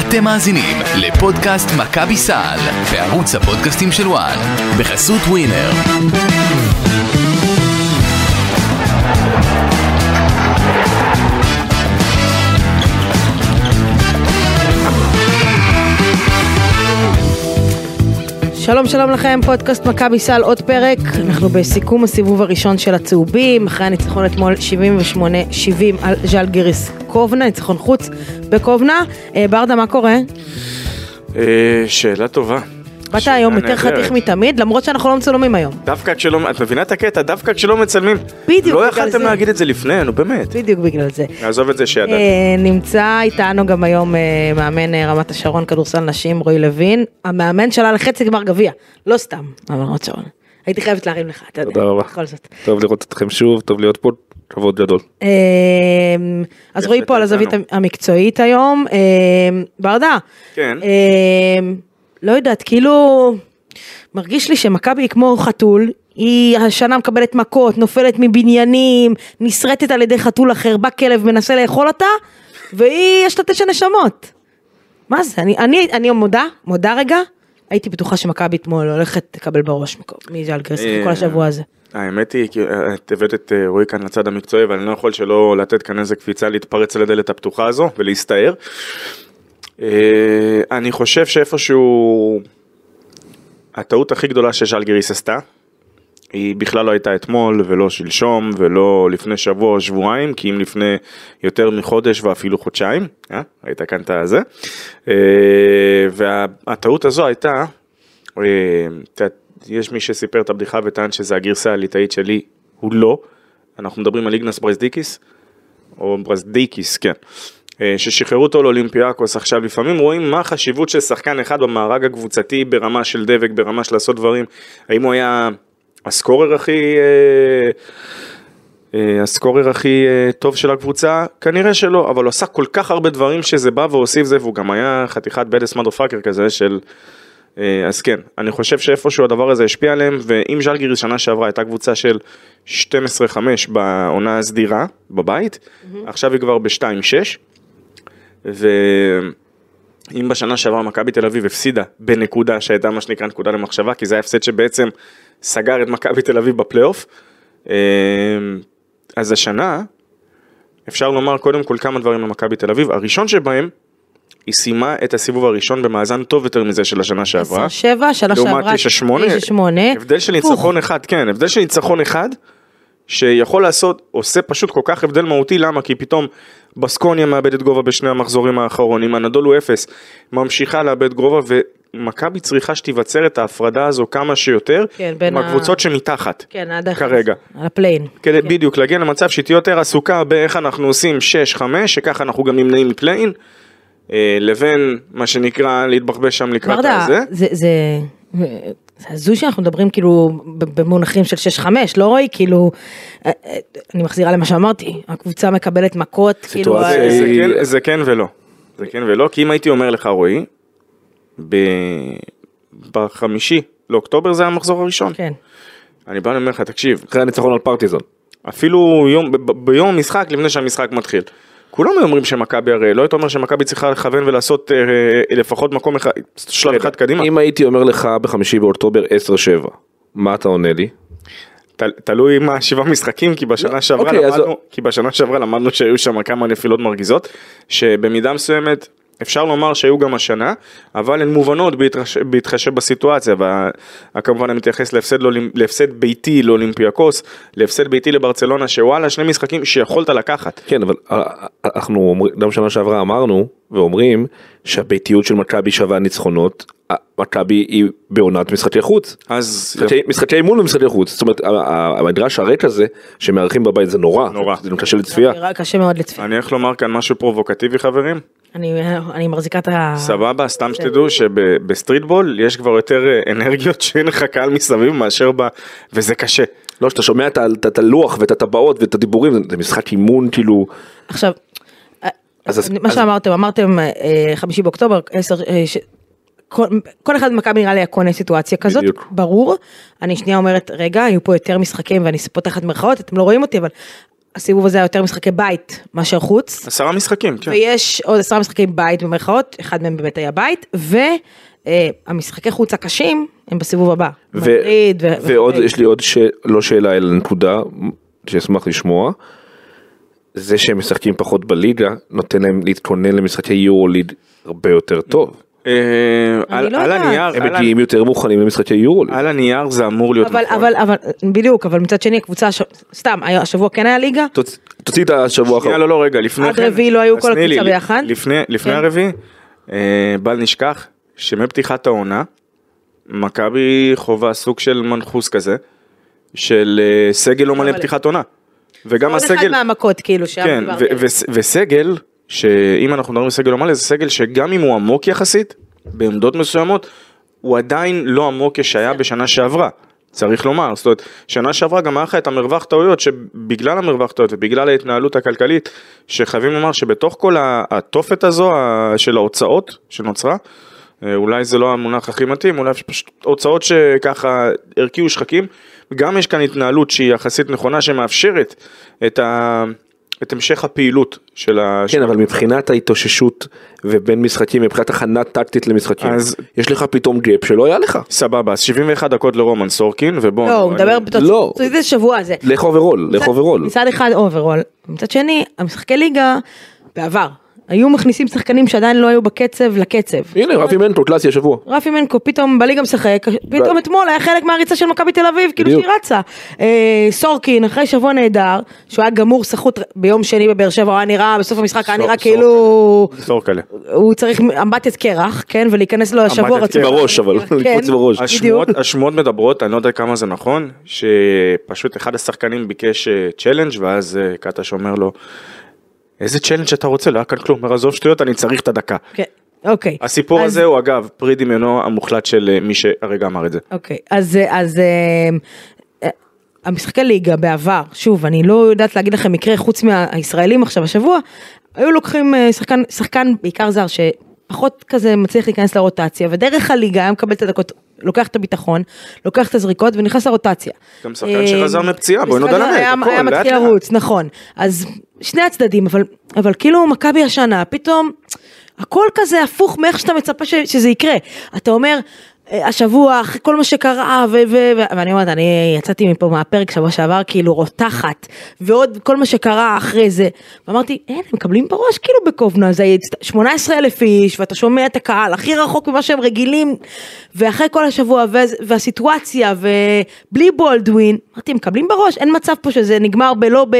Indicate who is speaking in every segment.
Speaker 1: אתם מאזינים לפודקאסט מכבי סל בערוץ הפודקאסטים של וואן בחסות ווינר.
Speaker 2: שלום שלום לכם, פודקאסט מכבי סל עוד פרק, אנחנו בסיכום הסיבוב הראשון של הצהובים, אחרי הניצחון אתמול 78-70 על ז'לגיריס קובנה, ניצחון חוץ בקובנה. אה, ברדה, מה קורה?
Speaker 3: אה, שאלה טובה.
Speaker 2: באת
Speaker 3: שאלה
Speaker 2: היום יותר
Speaker 3: נהדרת.
Speaker 2: חתיך מתמיד, למרות שאנחנו לא מצולמים היום.
Speaker 3: דווקא כשלא, את מבינה את הקטע? דווקא כשלא מצלמים.
Speaker 2: בדיוק,
Speaker 3: לא
Speaker 2: בגלל
Speaker 3: יכלתם
Speaker 2: זה.
Speaker 3: להגיד את זה לפני, נו באמת.
Speaker 2: בדיוק בגלל
Speaker 4: לא
Speaker 2: זה.
Speaker 3: נעזוב את זה שידעתי.
Speaker 2: אה, נמצא איתנו גם היום אה, מאמן אה, רמת השרון כדורסל נשים רועי לוין, המאמן שלה לחצי גמר גביע, לא סתם, אבל רמת שרון. הייתי חייבת להרים לך, אתה יודע,
Speaker 4: תודה רבה.
Speaker 2: בכל זאת.
Speaker 4: טוב לראות אתכם שוב, טוב להיות פה, כבוד גדול.
Speaker 2: אמ, אז
Speaker 3: בהחלט
Speaker 2: רועי פה על הזווית
Speaker 3: איתנו.
Speaker 2: המקצועית היום. אמ, ברדה,
Speaker 3: כן.
Speaker 2: אמ, לא יודעת, כאילו, מרגיש לי שמכבי היא כמו חתול, היא השנה מקבלת מכות, נופלת מבניינים, נשרטת על ידי חתול אחר, בא כלב, מנסה לאכול אותה, והיא, יש לה תשע נשמות. מה זה, אני, אני, אני מודה, מודה רגע, הייתי בטוחה שמכבי אתמול הולכת לקבל בראש מז'לגרס
Speaker 3: אה,
Speaker 2: כל השבוע הזה.
Speaker 3: האמת היא, כי, אה, את הבאת את אה, רועי כאן לצד המקצועי, ואני לא יכול שלא לתת כאן איזה קפיצה להתפרץ על הדלת הפתוחה הזו ולהסתער. אה, אני חושב שאיפשהו... הטעות הכי גדולה שז'לגיריס עשתה, היא בכלל לא הייתה אתמול ולא שלשום ולא לפני שבוע או שבועיים, כי אם לפני יותר מחודש ואפילו חודשיים, אה? ראית כאן את הזה. אה, והטעות הזו הייתה, אה, את יודעת, יש מי שסיפר את הבדיחה וטען שזה הגרסה הליטאית שלי, הוא לא. אנחנו מדברים על איגנס ברזדיקיס, או ברזדיקיס, כן. אה, ששחררו אותו לאולימפיאקוס עכשיו, לפעמים רואים מה החשיבות של שחקן אחד במארג הקבוצתי ברמה של דבק, ברמה של לעשות דברים. האם הוא היה הסקורר הכי... אה, אה, הסקורר הכי אה, טוב של הקבוצה? כנראה שלא, אבל הוא עשה כל כך הרבה דברים שזה בא והוסיף זה, והוא גם היה חתיכת בדס מדרפאקר כזה של... אה, אז כן, אני חושב שאיפשהו הדבר הזה השפיע עליהם, ואם ז'לגיריס שנה שעברה הייתה קבוצה של 12-5 בעונה הסדירה בבית, עכשיו היא כבר ב-2-6, ואם בשנה שעברה מכבי תל אביב הפסידה בנקודה שהייתה מה שנקרא נקודה למחשבה, כי זה היה הפסד שבעצם סגר את מכבי תל אביב בפלייאוף, אה, אז השנה אפשר לומר קודם כל כמה דברים למכבי תל אביב, הראשון שבהם, היא סיימה את הסיבוב הראשון במאזן טוב יותר מזה של השנה שעברה.
Speaker 2: 10-7, שנה
Speaker 3: לעומת
Speaker 2: שעברה,
Speaker 3: 9-8,
Speaker 2: 9-8.
Speaker 3: הבדל של
Speaker 2: כן. הפוך.
Speaker 3: ניצחון אחד, כן, הבדל של ניצחון אחד, שיכול לעשות, עושה פשוט כל כך הבדל מהותי, למה? כי פתאום בסקוניה מאבדת גובה בשני המחזורים האחרונים, הנדולו אפס, ממשיכה לאבד גובה, ומכבי צריכה שתיווצר את ההפרדה הזו כמה שיותר,
Speaker 2: כן, בין ה-
Speaker 3: מהקבוצות שמתחת,
Speaker 2: כן, עד ה-
Speaker 3: כרגע.
Speaker 2: על הפליין.
Speaker 3: כדי בדיוק להגיע למצב שהיא תהיה יותר עסוקה באיך אנחנו עושים 6-5, שככה אנחנו גם נמנעים מפליין, אה, לבין מה שנקרא להתבחבש שם לקראת
Speaker 2: ורדה,
Speaker 3: הזה.
Speaker 2: זה, זה, זה הזוי שאנחנו מדברים כאילו ב- במונחים של 6-5, לא רואי? כאילו, אה, אה, אני מחזירה למה שאמרתי, הקבוצה מקבלת מכות, כאילו,
Speaker 4: סיטואציה
Speaker 2: אה,
Speaker 3: זה, זה,
Speaker 4: אה,
Speaker 3: כן, זה כן ולא. זה כן ולא, כי אם הייתי אומר לך, רועי, ב... בחמישי לאוקטובר זה המחזור הראשון.
Speaker 2: כן.
Speaker 3: אני בא ואומר לך, תקשיב,
Speaker 4: אחרי הניצחון על פרטיזון.
Speaker 3: אפילו יום, ב- ב- ביום המשחק, לפני שהמשחק מתחיל. כולם היו אומרים שמכבי, הרי לא היית אומר שמכבי צריכה לכוון ולעשות אה, אה, לפחות מקום אחד, שלב אחד קדימה.
Speaker 4: אם הייתי אומר לך בחמישי באוקטובר 10-7, מה אתה עונה לי?
Speaker 3: ת- תלוי מה שבעה משחקים כי בשנה שעברה
Speaker 4: אוקיי, אז-
Speaker 3: למדנו כי בשנה שעברה למדנו שהיו שם כמה נפילות מרגיזות שבמידה מסוימת אפשר לומר שהיו גם השנה אבל הן מובנות בהתרש- בהתחשב בסיטואציה וכמובן אני מתייחס להפסד, לא, להפסד ביתי לאולימפיאקוס להפסד ביתי לברצלונה שוואלה שני משחקים שיכולת לקחת
Speaker 4: כן, אבל אה, אה, אנחנו אומרים, גם שנה שעברה אמרנו ואומרים שהביתיות של מכבי שווה ניצחונות, אה, מכבי היא בעונת משחקי חוץ.
Speaker 3: אז
Speaker 4: משחקי- משחקי אימון ומשחקי חוץ, זאת אומרת ה- ה- המדרש הריק הזה שמארחים בבית זה נורא,
Speaker 3: נורא.
Speaker 4: זה קשה לצפייה,
Speaker 2: נראה קשה מאוד לצפייה.
Speaker 3: אני הולך לומר כאן משהו פרובוקטיבי חברים
Speaker 4: אה.
Speaker 2: אני, אה, אני מחזיקה את ה...
Speaker 3: סבבה,
Speaker 4: כן.
Speaker 3: סתם שתדעו שבסטריטבול יש כבר יותר אה, אנרגיות שאין לך קהל מסביב מאשר ב... וזה קשה.
Speaker 4: לא שאתה שומע את ה- את ה- את הלוח ואת הטבעות ואת הדיבורים, זה- זה משחק אימון כאילו,
Speaker 2: עכשיו,
Speaker 4: אז- אז-
Speaker 2: מה
Speaker 4: אז-
Speaker 2: שאמרתם, אמרתם אה, חמישי באוקטובר, עשר, אה, ש- כל, כל אחד במכבי נראה לי היה קונה סיטואציה כזאת,
Speaker 4: בדיוק.
Speaker 2: ברור. אני שנייה אומרת, רגע, היו פה יותר משחקים ואני פותחת מירכאות, אתם לא רואים אותי, אבל הסיבוב הזה היה יותר משחקי בית מאשר חוץ.
Speaker 3: עשרה משחקים, כן.
Speaker 2: ויש עוד עשרה משחקי בית במרכאות, אחד מהם באמת היה בית, והמשחקי חוץ הקשים הם בסיבוב הבא.
Speaker 4: ו-
Speaker 2: מדריד ו-
Speaker 4: ועוד,
Speaker 2: וכו'.
Speaker 4: יש לי עוד, ש... לא שאלה אלא נקודה שאשמח לשמוע. זה שהם משחקים פחות בליגה נותן להם להתכונן למשחקי יורו ליד הרבה יותר טוב.
Speaker 3: אה, על
Speaker 2: לא
Speaker 3: על
Speaker 2: יודעת.
Speaker 3: הנייר,
Speaker 4: הם
Speaker 3: על ה-
Speaker 4: מגיעים יותר מוכנים למשחקי יורו ליד.
Speaker 3: על הנייר זה אמור להיות
Speaker 2: אבל,
Speaker 3: נכון.
Speaker 2: אבל, אבל, בדיוק, אבל מצד שני הקבוצה, הש- סתם, היה- השבוע כן היה ליגה,
Speaker 4: תוצ- תוציא את השבוע האחרון.
Speaker 3: שנייה, לא, לא, רגע, לפני
Speaker 2: עד רביעי לא היו
Speaker 3: אז
Speaker 2: כל
Speaker 3: תני לי,
Speaker 2: הקבוצה ביחד?
Speaker 3: לפני, לפני
Speaker 2: כן.
Speaker 3: הרביעי, אה, בל נשכח שמפתיחת העונה, מכבי חווה סוג של מנחוס כזה, של אה, סגל לא מלא
Speaker 2: אבל-
Speaker 3: פתיחת עונה. וגם
Speaker 2: עוד אחד
Speaker 3: הסגל,
Speaker 2: מהמכות כאילו, שם
Speaker 3: כן,
Speaker 2: דיברתי
Speaker 3: ו-
Speaker 2: עליהם.
Speaker 3: וס- וסגל, שאם אנחנו מדברים על סגל לא מלא, זה סגל שגם אם הוא עמוק יחסית, בעמדות מסוימות, הוא עדיין לא עמוק כשהיה בשנה שעברה. צריך לומר, זאת אומרת, שנה שעברה גם היה לך את המרווח טעויות, שבגלל המרווח טעויות ובגלל ההתנהלות הכלכלית, שחייבים לומר שבתוך כל ה- התופת הזו ה- של ההוצאות שנוצרה, אה, אולי זה לא המונח הכי מתאים, אולי פשוט הוצאות שככה הרקיעו שחקים, גם יש כאן התנהלות שהיא יחסית נכונה שמאפשרת את, ה... את המשך הפעילות של ה...
Speaker 4: כן, אבל מבחינת ההתאוששות ובין משחקים, מבחינת הכנה טקטית למשחקים,
Speaker 3: אז-
Speaker 4: יש לך פתאום גאפ שלא היה לך.
Speaker 3: סבבה, אז 71 דקות לרומן סורקין, ובואו...
Speaker 2: לא, הוא מדבר,
Speaker 4: נכון, לא.
Speaker 2: תוציא את זה שבוע הזה.
Speaker 4: לך אוברול, לך
Speaker 2: מצד-
Speaker 4: אוברול.
Speaker 2: מצד אחד אוברול, מצד שני, המשחקי ליגה, בעבר, היו מכניסים שחקנים שעדיין לא היו בקצב לקצב.
Speaker 4: הנה, רפי מנטו, קלאסי השבוע.
Speaker 2: רפי מנקו פתאום בליגה משחק, פתאום
Speaker 4: ו-
Speaker 2: אתמול היה חלק מהריצה של מכבי תל אביב, כאילו
Speaker 4: בדיוק.
Speaker 2: שהיא רצה. אה, סורקין אחרי שבוע נהדר, שהוא היה גמור סחוט ביום שני בבאר שבע, הוא היה נראה, בסוף המשחק היה
Speaker 3: סור-
Speaker 2: נראה
Speaker 3: סורקין.
Speaker 2: כאילו...
Speaker 3: סורקלה.
Speaker 2: הוא צריך אמבטיית קרח, כן, ולהיכנס לו השבוע
Speaker 4: אמבטיית בראש, אבל,
Speaker 2: כן,
Speaker 4: לקפוץ בראש.
Speaker 2: בדיוק.
Speaker 3: השמועות, השמועות מדברות, אני לא יודע כמה זה נכון, שפשוט אחד השחקנים ביקש אה, צ'לנג' ואז אה, קטש אומר לו, איזה צ'לנג' אתה רוצה, לא היה כאן כלום, אומר עזוב שטויות, אני צריך את הדקה.
Speaker 2: כן, אוקיי.
Speaker 3: הסיפור
Speaker 2: אז-
Speaker 3: הזה הוא אגב פרי דמיונו המוחלט של אה, מי שהרגע אמר את זה.
Speaker 2: אוקיי, אז, אה, אז אה, אה, המשחקי ליגה בעבר, שוב, אני לא יודעת להגיד לכם מקרה חוץ מהישראלים עכשיו השבוע, היו לוקחים אה, שחקן, שחקן בעיקר זר שפחות כזה מצליח להיכנס לרוטציה, ודרך הליגה היה מקבל את הדקות, לוקח את הביטחון, לוקח את הזריקות ונכנס לרוטציה.
Speaker 3: גם שחקן שחזר
Speaker 2: אה,
Speaker 3: מפציעה, בואי
Speaker 2: משחק
Speaker 3: נודה על האמת,
Speaker 2: היה-
Speaker 3: הכל,
Speaker 2: היה
Speaker 3: לאט
Speaker 2: מתחיל
Speaker 3: לאט.
Speaker 2: לרוץ, נכון. אז שני הצדדים, אבל, אבל כאילו מכבי השנה, פתאום הכל כזה הפוך מאיך שאתה מצפה ש, שזה יקרה. אתה אומר, אה, השבוע, אחרי כל מה שקרה, ו, ו, ו, ואני אומרת, אני יצאתי מפה מהפרק שבוע שעבר, כאילו רותחת, ועוד כל מה שקרה אחרי זה. ואמרתי, אין, הם מקבלים בראש, כאילו בקובנה, זה 18 אלף איש, ואתה שומע את הקהל הכי רחוק ממה שהם רגילים, ואחרי כל השבוע, וה- והסיטואציה, ובלי בולדווין, אמרתי, הם מקבלים בראש, אין מצב פה שזה נגמר בלא ב...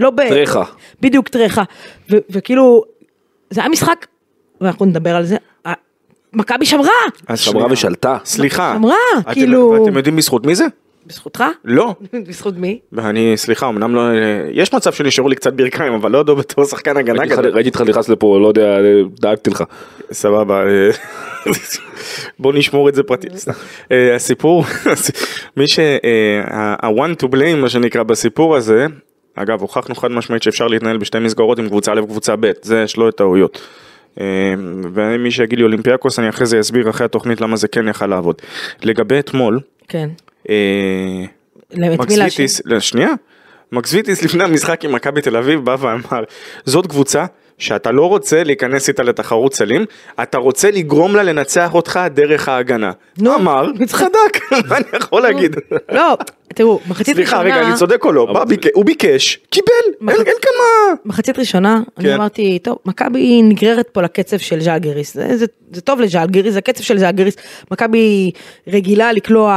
Speaker 2: לא ב...
Speaker 4: טרחה.
Speaker 2: בדיוק טרחה. ו- וכאילו, זה היה משחק, ואנחנו נדבר על זה, ה- מכבי שמרה,
Speaker 3: אז
Speaker 4: שמרה
Speaker 3: שנייה.
Speaker 4: ושלטה.
Speaker 3: סליחה.
Speaker 2: שמרה,
Speaker 3: אתם-
Speaker 2: כאילו-
Speaker 3: ואתם יודעים בזכות מי זה?
Speaker 2: בזכותך?
Speaker 3: לא.
Speaker 2: בזכות מי?
Speaker 3: אני, סליחה, אמנם לא... יש מצב שנשארו לי קצת ברכיים, אבל לא יודע בתור שחקן הגנה
Speaker 4: ראיתי אותך-
Speaker 3: גדול.
Speaker 4: ראיתי אותך נכנס לפה, לא יודע, דאגתי לך.
Speaker 3: סבבה, אה, בוא נשמור את זה פרטי. סתם. אה, הסיפור, מי אה, שה-one to blame מה שנקרא בסיפור הזה, אגב הוכחנו חד משמעית שאפשר להתנהל בשתי מסגרות עם קבוצה א' וקבוצה ב', זה שלא טעויות. אה, ומי שיגיד לי אולימפיאקוס אני אחרי זה אסביר אחרי התוכנית למה זה כן יכל לעבוד. לגבי אתמול,
Speaker 2: כן.
Speaker 3: אה,
Speaker 2: למה, את מי
Speaker 3: מקס
Speaker 2: להאשים?
Speaker 3: ויטיס, לא, שנייה, מקס ויטיס לפני המשחק עם מכבי תל אביב בא ואמר, זאת קבוצה שאתה לא רוצה להיכנס איתה לתחרות סלים, אתה רוצה לגרום לה לנצח אותך דרך ההגנה.
Speaker 2: נו.
Speaker 3: אמר, צדק, מה אני יכול להגיד?
Speaker 2: לא, תראו, מחצית ראשונה...
Speaker 3: סליחה רגע, אני צודק או לא? בא, ביק- הוא ביקש, קיבל, אין
Speaker 2: מחצית-
Speaker 3: אין כמה...
Speaker 2: מחצית ראשונה,
Speaker 3: כן.
Speaker 2: אני אמרתי, טוב, מכבי נגררת פה לקצב של ז'אלגריס, זה, זה, זה טוב לז'אלגריס, זה קצב של ז'אלגריס, מכבי רגילה לקלוע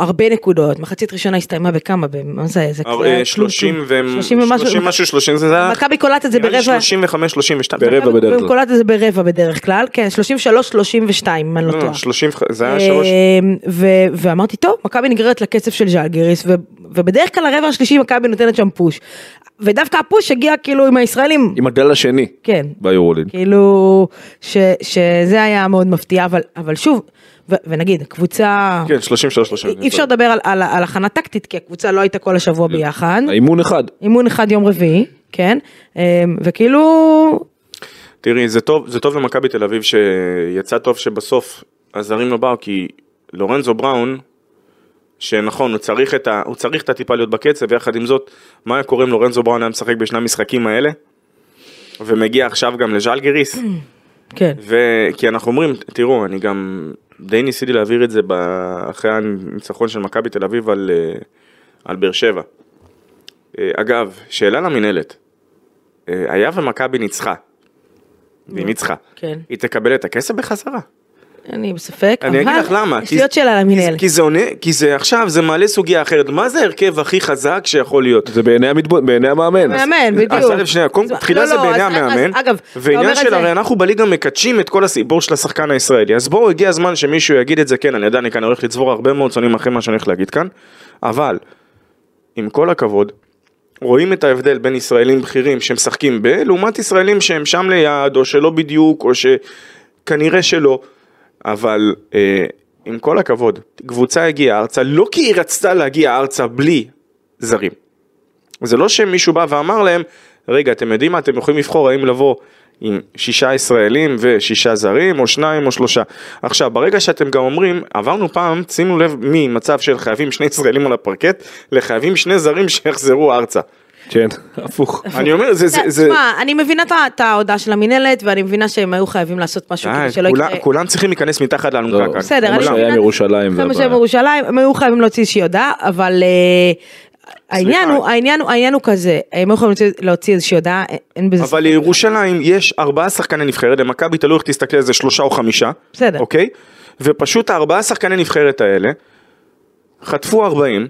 Speaker 2: הרבה נקודות, מחצית ראשונה הסתיימה בכמה, במה זה, זה
Speaker 3: אה,
Speaker 2: היה כלום,
Speaker 3: שלושים
Speaker 2: כלום.
Speaker 3: ו...
Speaker 2: שלושים ומשהו,
Speaker 3: שלושים משהו, שלושים זה היה...
Speaker 2: מכבי קולט את זה
Speaker 3: נראה לי
Speaker 2: ברבע, אה,
Speaker 3: 35, 32.
Speaker 4: ברבע
Speaker 2: מכבי
Speaker 4: בדרך כלל.
Speaker 2: קולט את זה ברבע בדרך כלל, כן, 33, 32, אם אני לא
Speaker 3: לא,
Speaker 2: טועה.
Speaker 3: 30, זה היה שלוש...
Speaker 2: אמ, ו- ואמרתי טוב מכבי נגררת לקצב של ז'אלגריס ו- ובדרך כלל הרבע השלישי מכבי נותנת שם פוש. ודווקא הפוש הגיע כאילו עם הישראלים
Speaker 4: עם הגל השני.
Speaker 2: כן.
Speaker 4: ביורוליד.
Speaker 2: כאילו, ש, שזה היה מאוד מפתיע, אבל, אבל שוב, ו, ונגיד, הקבוצה,
Speaker 3: כן, 33, 32.
Speaker 2: אי אפשר לדבר על, על, על הכנה טקטית, כי הקבוצה לא הייתה כל השבוע ביחד,
Speaker 4: האימון אחד.
Speaker 2: אימון אחד יום רביעי, כן, אמ, וכאילו,
Speaker 3: תראי, זה טוב, זה טוב למכבי תל אביב שיצא טוב שבסוף הזרים לא באו, כי לורנזו בראון, שנכון, הוא צריך את, ה, הוא צריך את הטיפה להיות בקצב, ויחד עם זאת, מה היה קורה אם לורנזו בראון היה משחק בשני המשחקים האלה? ומגיע עכשיו גם לז'לגריס,
Speaker 2: כן.
Speaker 3: וכי אנחנו אומרים, תראו, אני גם די ניסיתי להעביר את זה ב... אחרי הניצחון של מכבי תל אביב על, אה, על באר שבע. אה, אגב, שאלה למינהלת, אה, היה ומכבי ניצחה, והיא ניצחה,
Speaker 2: כן.
Speaker 3: היא תקבל את הכסף בחזרה?
Speaker 2: אני בספק,
Speaker 3: אני אגיד
Speaker 2: אבל
Speaker 3: לך למה.
Speaker 2: יש
Speaker 3: כי-
Speaker 2: לי עוד שאלה
Speaker 3: כי-
Speaker 2: למנהל.
Speaker 3: כי זה עונה, כי זה עכשיו, זה מעלה סוגיה אחרת. מה זה ההרכב הכי חזק שיכול להיות?
Speaker 4: זה בעיני המתבונן, בעיני המאמן.
Speaker 2: מאמן, כן, בדיוק.
Speaker 3: אז א' אה, שנייה, קודם כל,
Speaker 2: אז-
Speaker 3: תחילה
Speaker 2: לא,
Speaker 3: זה
Speaker 2: לא,
Speaker 3: בעיני
Speaker 2: אז- אז-
Speaker 3: המאמן,
Speaker 2: אגב, אתה אומר
Speaker 3: ועניין
Speaker 2: את
Speaker 3: של
Speaker 2: זה- כן,
Speaker 3: הרי אנחנו בליגה מקדשים את כל הסיפור של השחקן הישראלי, אז בואו הגיע הזמן שמישהו יגיד את זה, כן, אני יודע, אני כאן הולך לצבור הרבה מאוד צונים אחרי מה שאני הולך להגיד כאן, אבל, עם כל הכבוד, רואים את ההבדל בין ישראלים בכירים שמשחקים ב, לעומת ישראלים שהם שם ליד, או שלא בדיוק, או שכנראה שלא, אבל אה, עם כל הכבוד, קבוצה הגיעה ארצה, לא כי היא רצתה להגיע ארצה בלי זרים. זה לא שמישהו בא ואמר להם, רגע, אתם יודעים מה, אתם יכולים לבחור האם לבוא עם שישה ישראלים ושישה זרים, או שניים או שלושה. עכשיו, ברגע שאתם גם אומרים, עברנו פעם, שימו לב, ממצב של חייבים שני ישראלים על הפרקט, לחייבים שני זרים שיחזרו ארצה.
Speaker 4: כן, הפוך.
Speaker 3: אני אומר, זה... זה, זה...
Speaker 2: תשמע, אני מבינה את ה- את ההודעה של המינהלת, ואני מבינה שהם היו חייבים לעשות משהו
Speaker 3: די,
Speaker 2: כדי שלא
Speaker 3: כולם-
Speaker 2: יקרה.
Speaker 3: כולם צריכים להיכנס מתחת לאלונקה
Speaker 4: לא,
Speaker 3: כאן.
Speaker 2: בסדר, אני
Speaker 4: זה מה
Speaker 2: מבינה.
Speaker 4: שהיה עם ירושלים.
Speaker 2: זה מה
Speaker 4: והבעיה.
Speaker 2: שהם ירושלים, הם היו חייבים להוציא איזושהי הודעה, אבל אה, העניין הוא, העניין הוא, העניין הוא כזה, הם היו חייבים להוציא- להוציא איזושהי הודעה, אין- אין בזה,
Speaker 3: אבל לירושלים יש ארבעה שחקני נבחרת, למכבי תלוי איך תסתכל על זה שלושה או חמישה.
Speaker 2: בסדר.
Speaker 3: אוקיי? ופשוט הארבעה שחקני נבחרת האלה, חטפו 40,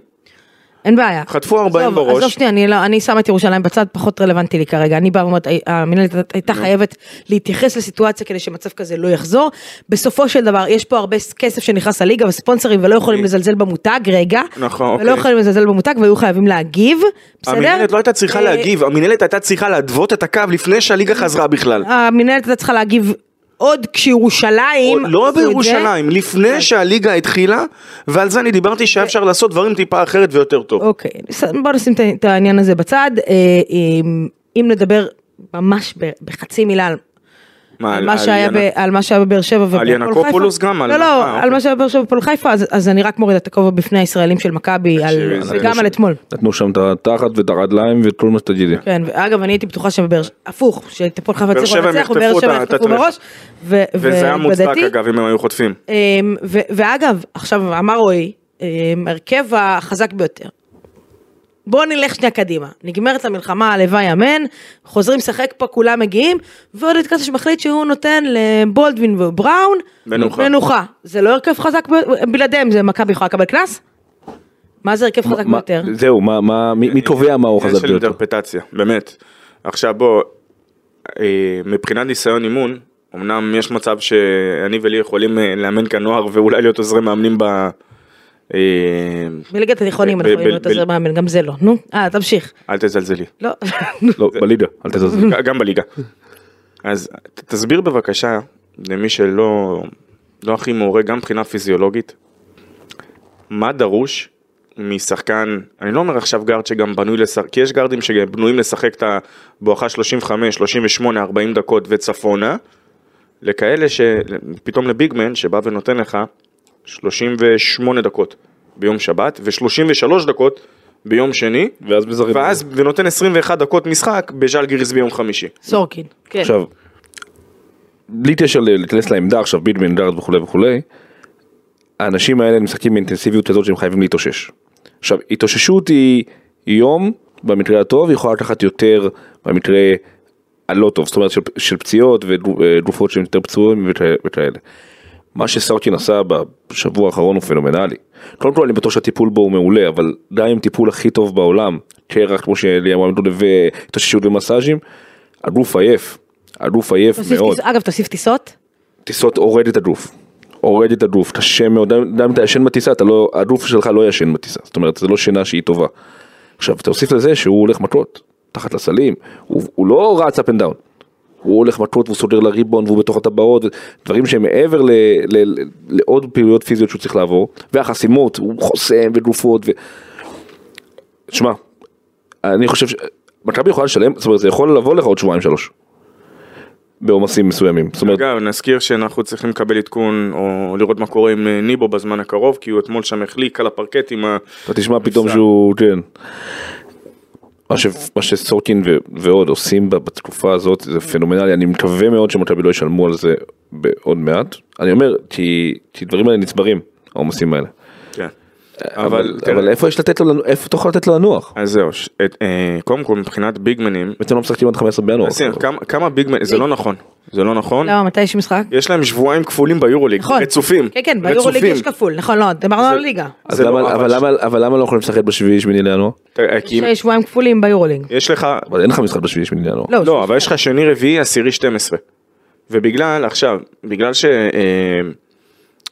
Speaker 2: אין בעיה.
Speaker 3: חטפו 40
Speaker 2: עזוב,
Speaker 3: בראש.
Speaker 2: עזוב שנייה, אני לא- אני שמה את ירושלים בצד, פחות רלוונטי לי כרגע. אני באה ואומרת, המנהלת
Speaker 3: לא.
Speaker 2: הייתה חייבת להתייחס לסיטואציה כדי שמצב כזה לא יחזור. בסופו של דבר, יש פה הרבה כסף שנכנס לליגה וספונסרים ולא יכולים לזלזל במותג, רגע.
Speaker 3: אוקיי. נכון, אוקיי.
Speaker 2: ולא יכולים לזלזל במותג והיו חייבים להגיב, בסדר?
Speaker 3: המינהלת לא הייתה צריכה
Speaker 2: אה,
Speaker 3: להגיב, המינהלת הייתה צריכה להדוות את הקו לפני שהליגה חזרה
Speaker 2: אה,
Speaker 3: בכלל.
Speaker 2: המנהלת הייתה צריכה להגיב עוד
Speaker 3: או-
Speaker 2: כשירושלים.
Speaker 3: לא
Speaker 2: עשו את זה. אה.
Speaker 3: בירושלים, לפני שהליגה התחילה, ועל זה אני דיברתי שהיה אפשר לעשות דברים טיפה אחרת ויותר טוב.
Speaker 2: אוקיי, בסדר, בוא נשים את ה- את העניין הזה בצד. אה, אם- אם נדבר ממש ב- בחצי מילה על
Speaker 3: מה,
Speaker 2: על
Speaker 3: על-
Speaker 2: מה
Speaker 3: על
Speaker 2: שהיה
Speaker 3: יאנה-
Speaker 2: ב- על מה שהיה בבאר שבע ובפועל חיפה.
Speaker 3: ינקופולוס גם, על-
Speaker 2: לא,
Speaker 3: אה,
Speaker 2: לא,
Speaker 3: אוקיי.
Speaker 2: על מה שהיה בבאר שבע ובפועל חיפה, אז- אז אני רק מורידה את הכובע בפני הישראלים של מכבי, על-
Speaker 3: תקשיבי, זה-
Speaker 2: וגם על אתמול.
Speaker 4: נתנו שם את התחת ואת הרגליים ואת כל מה שתגידי.
Speaker 2: כן, ואגב, אני הייתי בטוחה שבבאר שבע, הפוך, שהפועל חיפה
Speaker 3: באר
Speaker 2: הצליחו
Speaker 3: שבע הם
Speaker 2: לנצח,
Speaker 3: יחטפו
Speaker 2: ובאר שבע
Speaker 3: אותה, אתה
Speaker 2: יחטפו
Speaker 3: תלך.
Speaker 2: בראש. ו-
Speaker 3: וזה היה מוצדק
Speaker 2: ולדעתי,
Speaker 3: אגב אם הם היו חוטפים.
Speaker 2: אמ, ו- ואגב, עכשיו אמר רועי, אמ, הרכב החזק ביותר. בואו נלך שנייה קדימה, נגמרת המלחמה, הלוואי אמן, חוזרים לשחק פה, כולם מגיעים, ועודד קאסה שמחליט שהוא נותן לבולדווין ובראון
Speaker 3: מנוחה.
Speaker 2: מנוחה. זה לא הרכב חזק, ב- בלעדיהם זה מכבי יכולה לקבל קנס? מה זה הרכב חזק
Speaker 4: מה-
Speaker 2: ביותר?
Speaker 4: זהו, מה- מה- מי מי קובע מה הוא
Speaker 3: עניין
Speaker 4: חזק
Speaker 3: של
Speaker 4: ביותר?
Speaker 3: אינטרפטציה, באמת. עכשיו בוא, אה, מבחינת ניסיון אימון, אמנם יש מצב שאני ולי יכולים אה, לאמן כאן נוער ואולי להיות עוזרי מאמנים ב... אה,
Speaker 2: בליגת התיכונים
Speaker 3: ב-
Speaker 2: אנחנו
Speaker 3: ב-
Speaker 2: יכולים להיות
Speaker 3: ב-
Speaker 2: עוזר מאמן, גם זה לא. נו, אה, תמשיך.
Speaker 3: אל תזלזלי.
Speaker 2: לא,
Speaker 4: לא, בליגה, אל תזלזל.
Speaker 3: גם בליגה. אז ת- תסביר בבקשה למי שלא לא הכי מעורה גם מבחינה פיזיולוגית, מה דרוש משחקן, אני לא אומר עכשיו גארד שגם בנוי לשחק, כי יש גארדים שבנויים לשחק את הבואכה 35, 38, 40 דקות וצפונה, לכאלה שפתאום לביגמן שבא ונותן לך 38 דקות ביום שבת ו-33 דקות ביום שני,
Speaker 4: ואז מזרק.
Speaker 3: ואז ונותן 21 דקות משחק בז'לגיריס ביום חמישי.
Speaker 2: סורקין. כן.
Speaker 4: עכשיו, בלי קשר ל- להיכנס לעמדה עכשיו בידמן דארד וכולי וכולי, האנשים האלה משחקים באינטנסיביות הזאת שהם חייבים להתאושש. עכשיו התאוששות היא יום במקרה הטוב היא יכולה לקחת יותר במקרה הלא לא טוב זאת אומרת של, של פציעות וגופות שהם יותר פצועים וכ- וכאלה. מה שסאוטין עשה בשבוע האחרון הוא פנומנלי. קודם כל אני בטוח שהטיפול בו הוא מעולה אבל גם עם טיפול הכי טוב בעולם קרח כמו שאלי אמרה והתאוששות ומסאז'ים הגוף עייף. הגוף עייף
Speaker 2: תוסיף
Speaker 4: מאוד.
Speaker 2: טיס- אגב, תוסיף טיסות.
Speaker 4: טיסות הורד את הגוף. הורד את הגוף, קשה מאוד, גם גם אם אתה ישן בטיסה, אתה לא, הגוף שלך לא ישן בטיסה, זאת אומרת, זו לא שינה שהיא טובה. עכשיו, תוסיף לזה שהוא הולך מכות, תחת לסלים, הוא, הוא לא רץ up and down. הוא הולך מכות והוא סוגר לריבון והוא בתוך הטבעות, דברים שהם מעבר ל, ל, ל, לעוד פעילויות פיזיות שהוא צריך לעבור, והחסימות, הוא חוסם וגופות ו... שמע, אני חושב ש... מכבי יכולה לשלם, זאת אומרת, זה יכול לבוא לך עוד שבועיים שלוש. בעומסים מסוימים. זאת אומרת,
Speaker 3: אגב, נזכיר שאנחנו צריכים לקבל עדכון או לראות מה קורה עם אה, ניבו בזמן הקרוב, כי הוא אתמול שם החליק על הפרקט עם ה...
Speaker 4: אתה תשמע פתאום שהוא, כן. מה, ש, מה שסורקין ו, ועוד עושים ב- בתקופה הזאת זה פנומנלי, אני מקווה מאוד שמכבי לא ישלמו על זה בעוד מעט. אני אומר, כי, כי דברים האלה נצברים, העומסים האלה.
Speaker 3: כן.
Speaker 4: אבל,
Speaker 3: תראה,
Speaker 4: אבל איפה יש לתת לו, לנוח- איפה אתה יכול לתת לו לנוח?
Speaker 3: אז זהו, ש- את- אה, קודם כל מבחינת ביגמנים,
Speaker 4: בעצם לא משחקים עד 15 בינואר.
Speaker 3: שים, כמה- כמה ביגמנים, זה לא
Speaker 2: אה,
Speaker 3: נכון, זה לא נכון,
Speaker 2: למה, מתי יש משחק?
Speaker 3: יש להם שבועיים כפולים ביורוליג,
Speaker 2: נכון.
Speaker 3: רצופים,
Speaker 2: כן, כן, ביורוליג
Speaker 3: רצופים.
Speaker 2: יש כפול, נכון, לא, דיברנו על הליגה.
Speaker 4: אז
Speaker 3: זה
Speaker 4: למה,
Speaker 3: לא,
Speaker 4: אבל,
Speaker 3: אבל-
Speaker 4: למה, אבל למה לא יכולים לשחק בשביעי שמיני לינואר?
Speaker 3: תראה, אה, כי אם-
Speaker 2: יש שבועיים כפולים ביורוליג.
Speaker 3: יש לך,
Speaker 4: אבל אין לך משחק בשביעי שמיני לינואר.
Speaker 2: לא,
Speaker 3: לא, אבל יש לך שני, רביעי, עשירי, 12. ובגלל, עכשיו, בגלל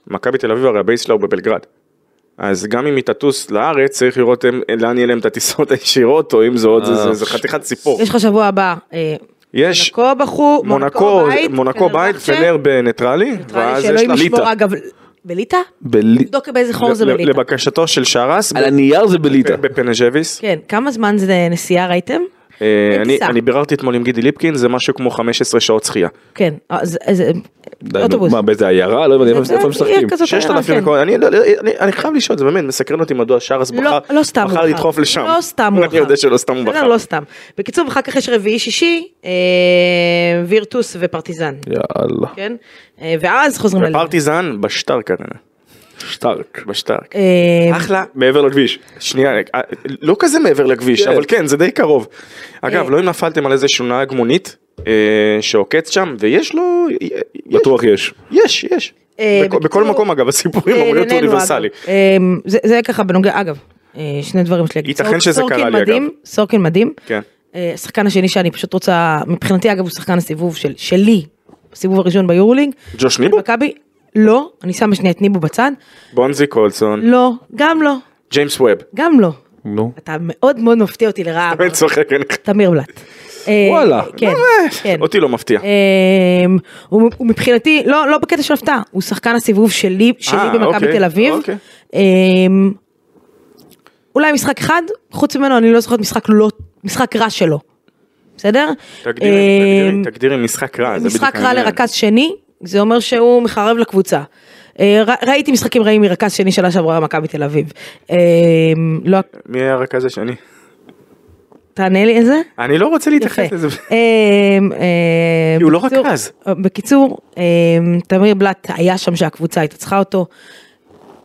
Speaker 3: שמכבי תל אביב הרי הבייס שלה הוא בבלגרד. אז גם אם היא תטוס לארץ, צריך לראות הם- לאן יהיה להם את הטיסות הישירות, או אם זה עוד, זה- זה-
Speaker 2: אה,
Speaker 3: זה חתיכת סיפור.
Speaker 2: יש לך שבוע הבא, אה,
Speaker 3: יש
Speaker 2: מונקו בחור,
Speaker 3: מונקו,
Speaker 2: מונקו בית, כן,
Speaker 3: מונקו בית, פנר בניטרלי, ואז יש
Speaker 2: אלוהים
Speaker 3: לה
Speaker 2: ישמור, אגב, בליטא?
Speaker 4: בלי...
Speaker 2: תבדוק באיזה חור זה
Speaker 3: ל-
Speaker 2: בליטא.
Speaker 3: לבקשתו של שרס,
Speaker 4: על הנייר זה בליטא.
Speaker 3: בפנג'ביס.
Speaker 2: כן, כמה זמן זה נסיעה ראיתם? אין
Speaker 3: אה, אני
Speaker 2: טיסה.
Speaker 3: אני ביררתי אתמול עם גידי ליפקין, זה משהו כמו 15 שעות שחייה.
Speaker 2: כן, אה, זה- זה
Speaker 4: די, נו,
Speaker 2: אוטובוס.
Speaker 4: מה, באיזה עיירה? לא הבנתי, איפה-
Speaker 2: זה-
Speaker 4: איפה הם
Speaker 2: זה עיר
Speaker 4: משחקים?
Speaker 2: כזאת,
Speaker 3: ששת אלפים
Speaker 2: כן.
Speaker 3: מקומות, אני, אני, אני, אני חייב לשאול, זה באמת מסקרן אותי מדוע שרס
Speaker 2: לא-
Speaker 3: בחר,
Speaker 2: לא סתם הוא
Speaker 3: בחר
Speaker 2: בחר.
Speaker 3: לדחוף לשם.
Speaker 2: לא סתם הוא בחר.
Speaker 3: אני יודע שלא סתם הוא
Speaker 2: בסדר,
Speaker 3: בחר.
Speaker 2: לא סתם. בקיצור, אחר כך יש רביעי שישי, אה, וירטוס ופרטיזן,
Speaker 4: יאללה.
Speaker 2: כן? אה, ואז חוזרים לליגה.
Speaker 3: ופרטיזן בשטרק ארנה. שטרק. בשטרק.
Speaker 2: אה,
Speaker 3: אחלה. מעבר לכביש. שנייה, אה, לא כזה מעבר לכביש,
Speaker 4: כן.
Speaker 3: אבל כן, זה די קרוב.
Speaker 2: אה.
Speaker 3: אגב, לא אם נפלתם על איזשהו נהג מונית אה, שעוקץ שם, ויש לו... יש,
Speaker 4: בטוח יש.
Speaker 3: יש, יש.
Speaker 2: אה,
Speaker 3: בכ-
Speaker 2: בקיצור-
Speaker 3: בכל מקום אגב, הסיפורים אמורים להיות
Speaker 2: לענייננו,
Speaker 3: אוניברסלי.
Speaker 2: אגב. אמ, זה- זה ככה בנוגע, אגב, אה, שני דברים שלי.
Speaker 3: ייתכן
Speaker 2: סורק-
Speaker 3: שזה
Speaker 2: סורקין
Speaker 3: קרה לי,
Speaker 2: מדהים,
Speaker 3: אגב.
Speaker 2: סורקין מדהים.
Speaker 3: כן.
Speaker 2: אה, השחקן השני שאני פשוט רוצה, מבחינתי אגב הוא שחקן הסיבוב של- שלי, הסיבוב הראשון ביורולינג.
Speaker 3: ג'וש ניבו?
Speaker 2: מכבי, לא, אני שמה שנייה את ניבו בצד.
Speaker 3: בונזי קולסון,
Speaker 2: לא, גם לא,
Speaker 3: ג'יימס ווב.
Speaker 2: גם לא.
Speaker 4: נו.
Speaker 2: אתה מאוד מאוד מפתיע אותי לרעה,
Speaker 3: אני צוחק, אני
Speaker 2: תמיר בלאט. אה,
Speaker 4: וואלה.
Speaker 2: כן, כן.
Speaker 3: אותי לא מפתיע.
Speaker 2: אמ, הוא הוא מבחינתי, לא, לא בקטע של הפתעה, הוא שחקן הסיבוב שלי, שלי
Speaker 3: אה,
Speaker 2: במכבי
Speaker 3: אוקיי,
Speaker 2: תל אביב.
Speaker 3: אוקיי.
Speaker 2: אמ, אולי משחק אחד, חוץ ממנו אני לא זוכרת משחק לא, משחק רע שלו, בסדר?
Speaker 3: תגדירי,
Speaker 2: אמ,
Speaker 3: תגדירי, תגדירי משחק רע. זה
Speaker 2: משחק
Speaker 3: בדיוק
Speaker 2: רע
Speaker 3: העניין.
Speaker 2: לרכז שני, זה אומר שהוא מחרב לקבוצה. אה, ר- ראיתי משחקים רעים מרכז שני שנה שעברה במכבי תל אביב. אמ, לא,
Speaker 3: מי היה הרכז השני?
Speaker 2: תענה לי איזה?
Speaker 3: אני לא
Speaker 2: יפה.
Speaker 3: רוצה להתייחס לזה.
Speaker 2: אמ, אמ,
Speaker 3: כי הוא לא
Speaker 2: בקיצור-
Speaker 3: רכז.
Speaker 2: בקיצור, אמ, תמיר בלאט היה שם שהקבוצה הייתה צריכה אותו.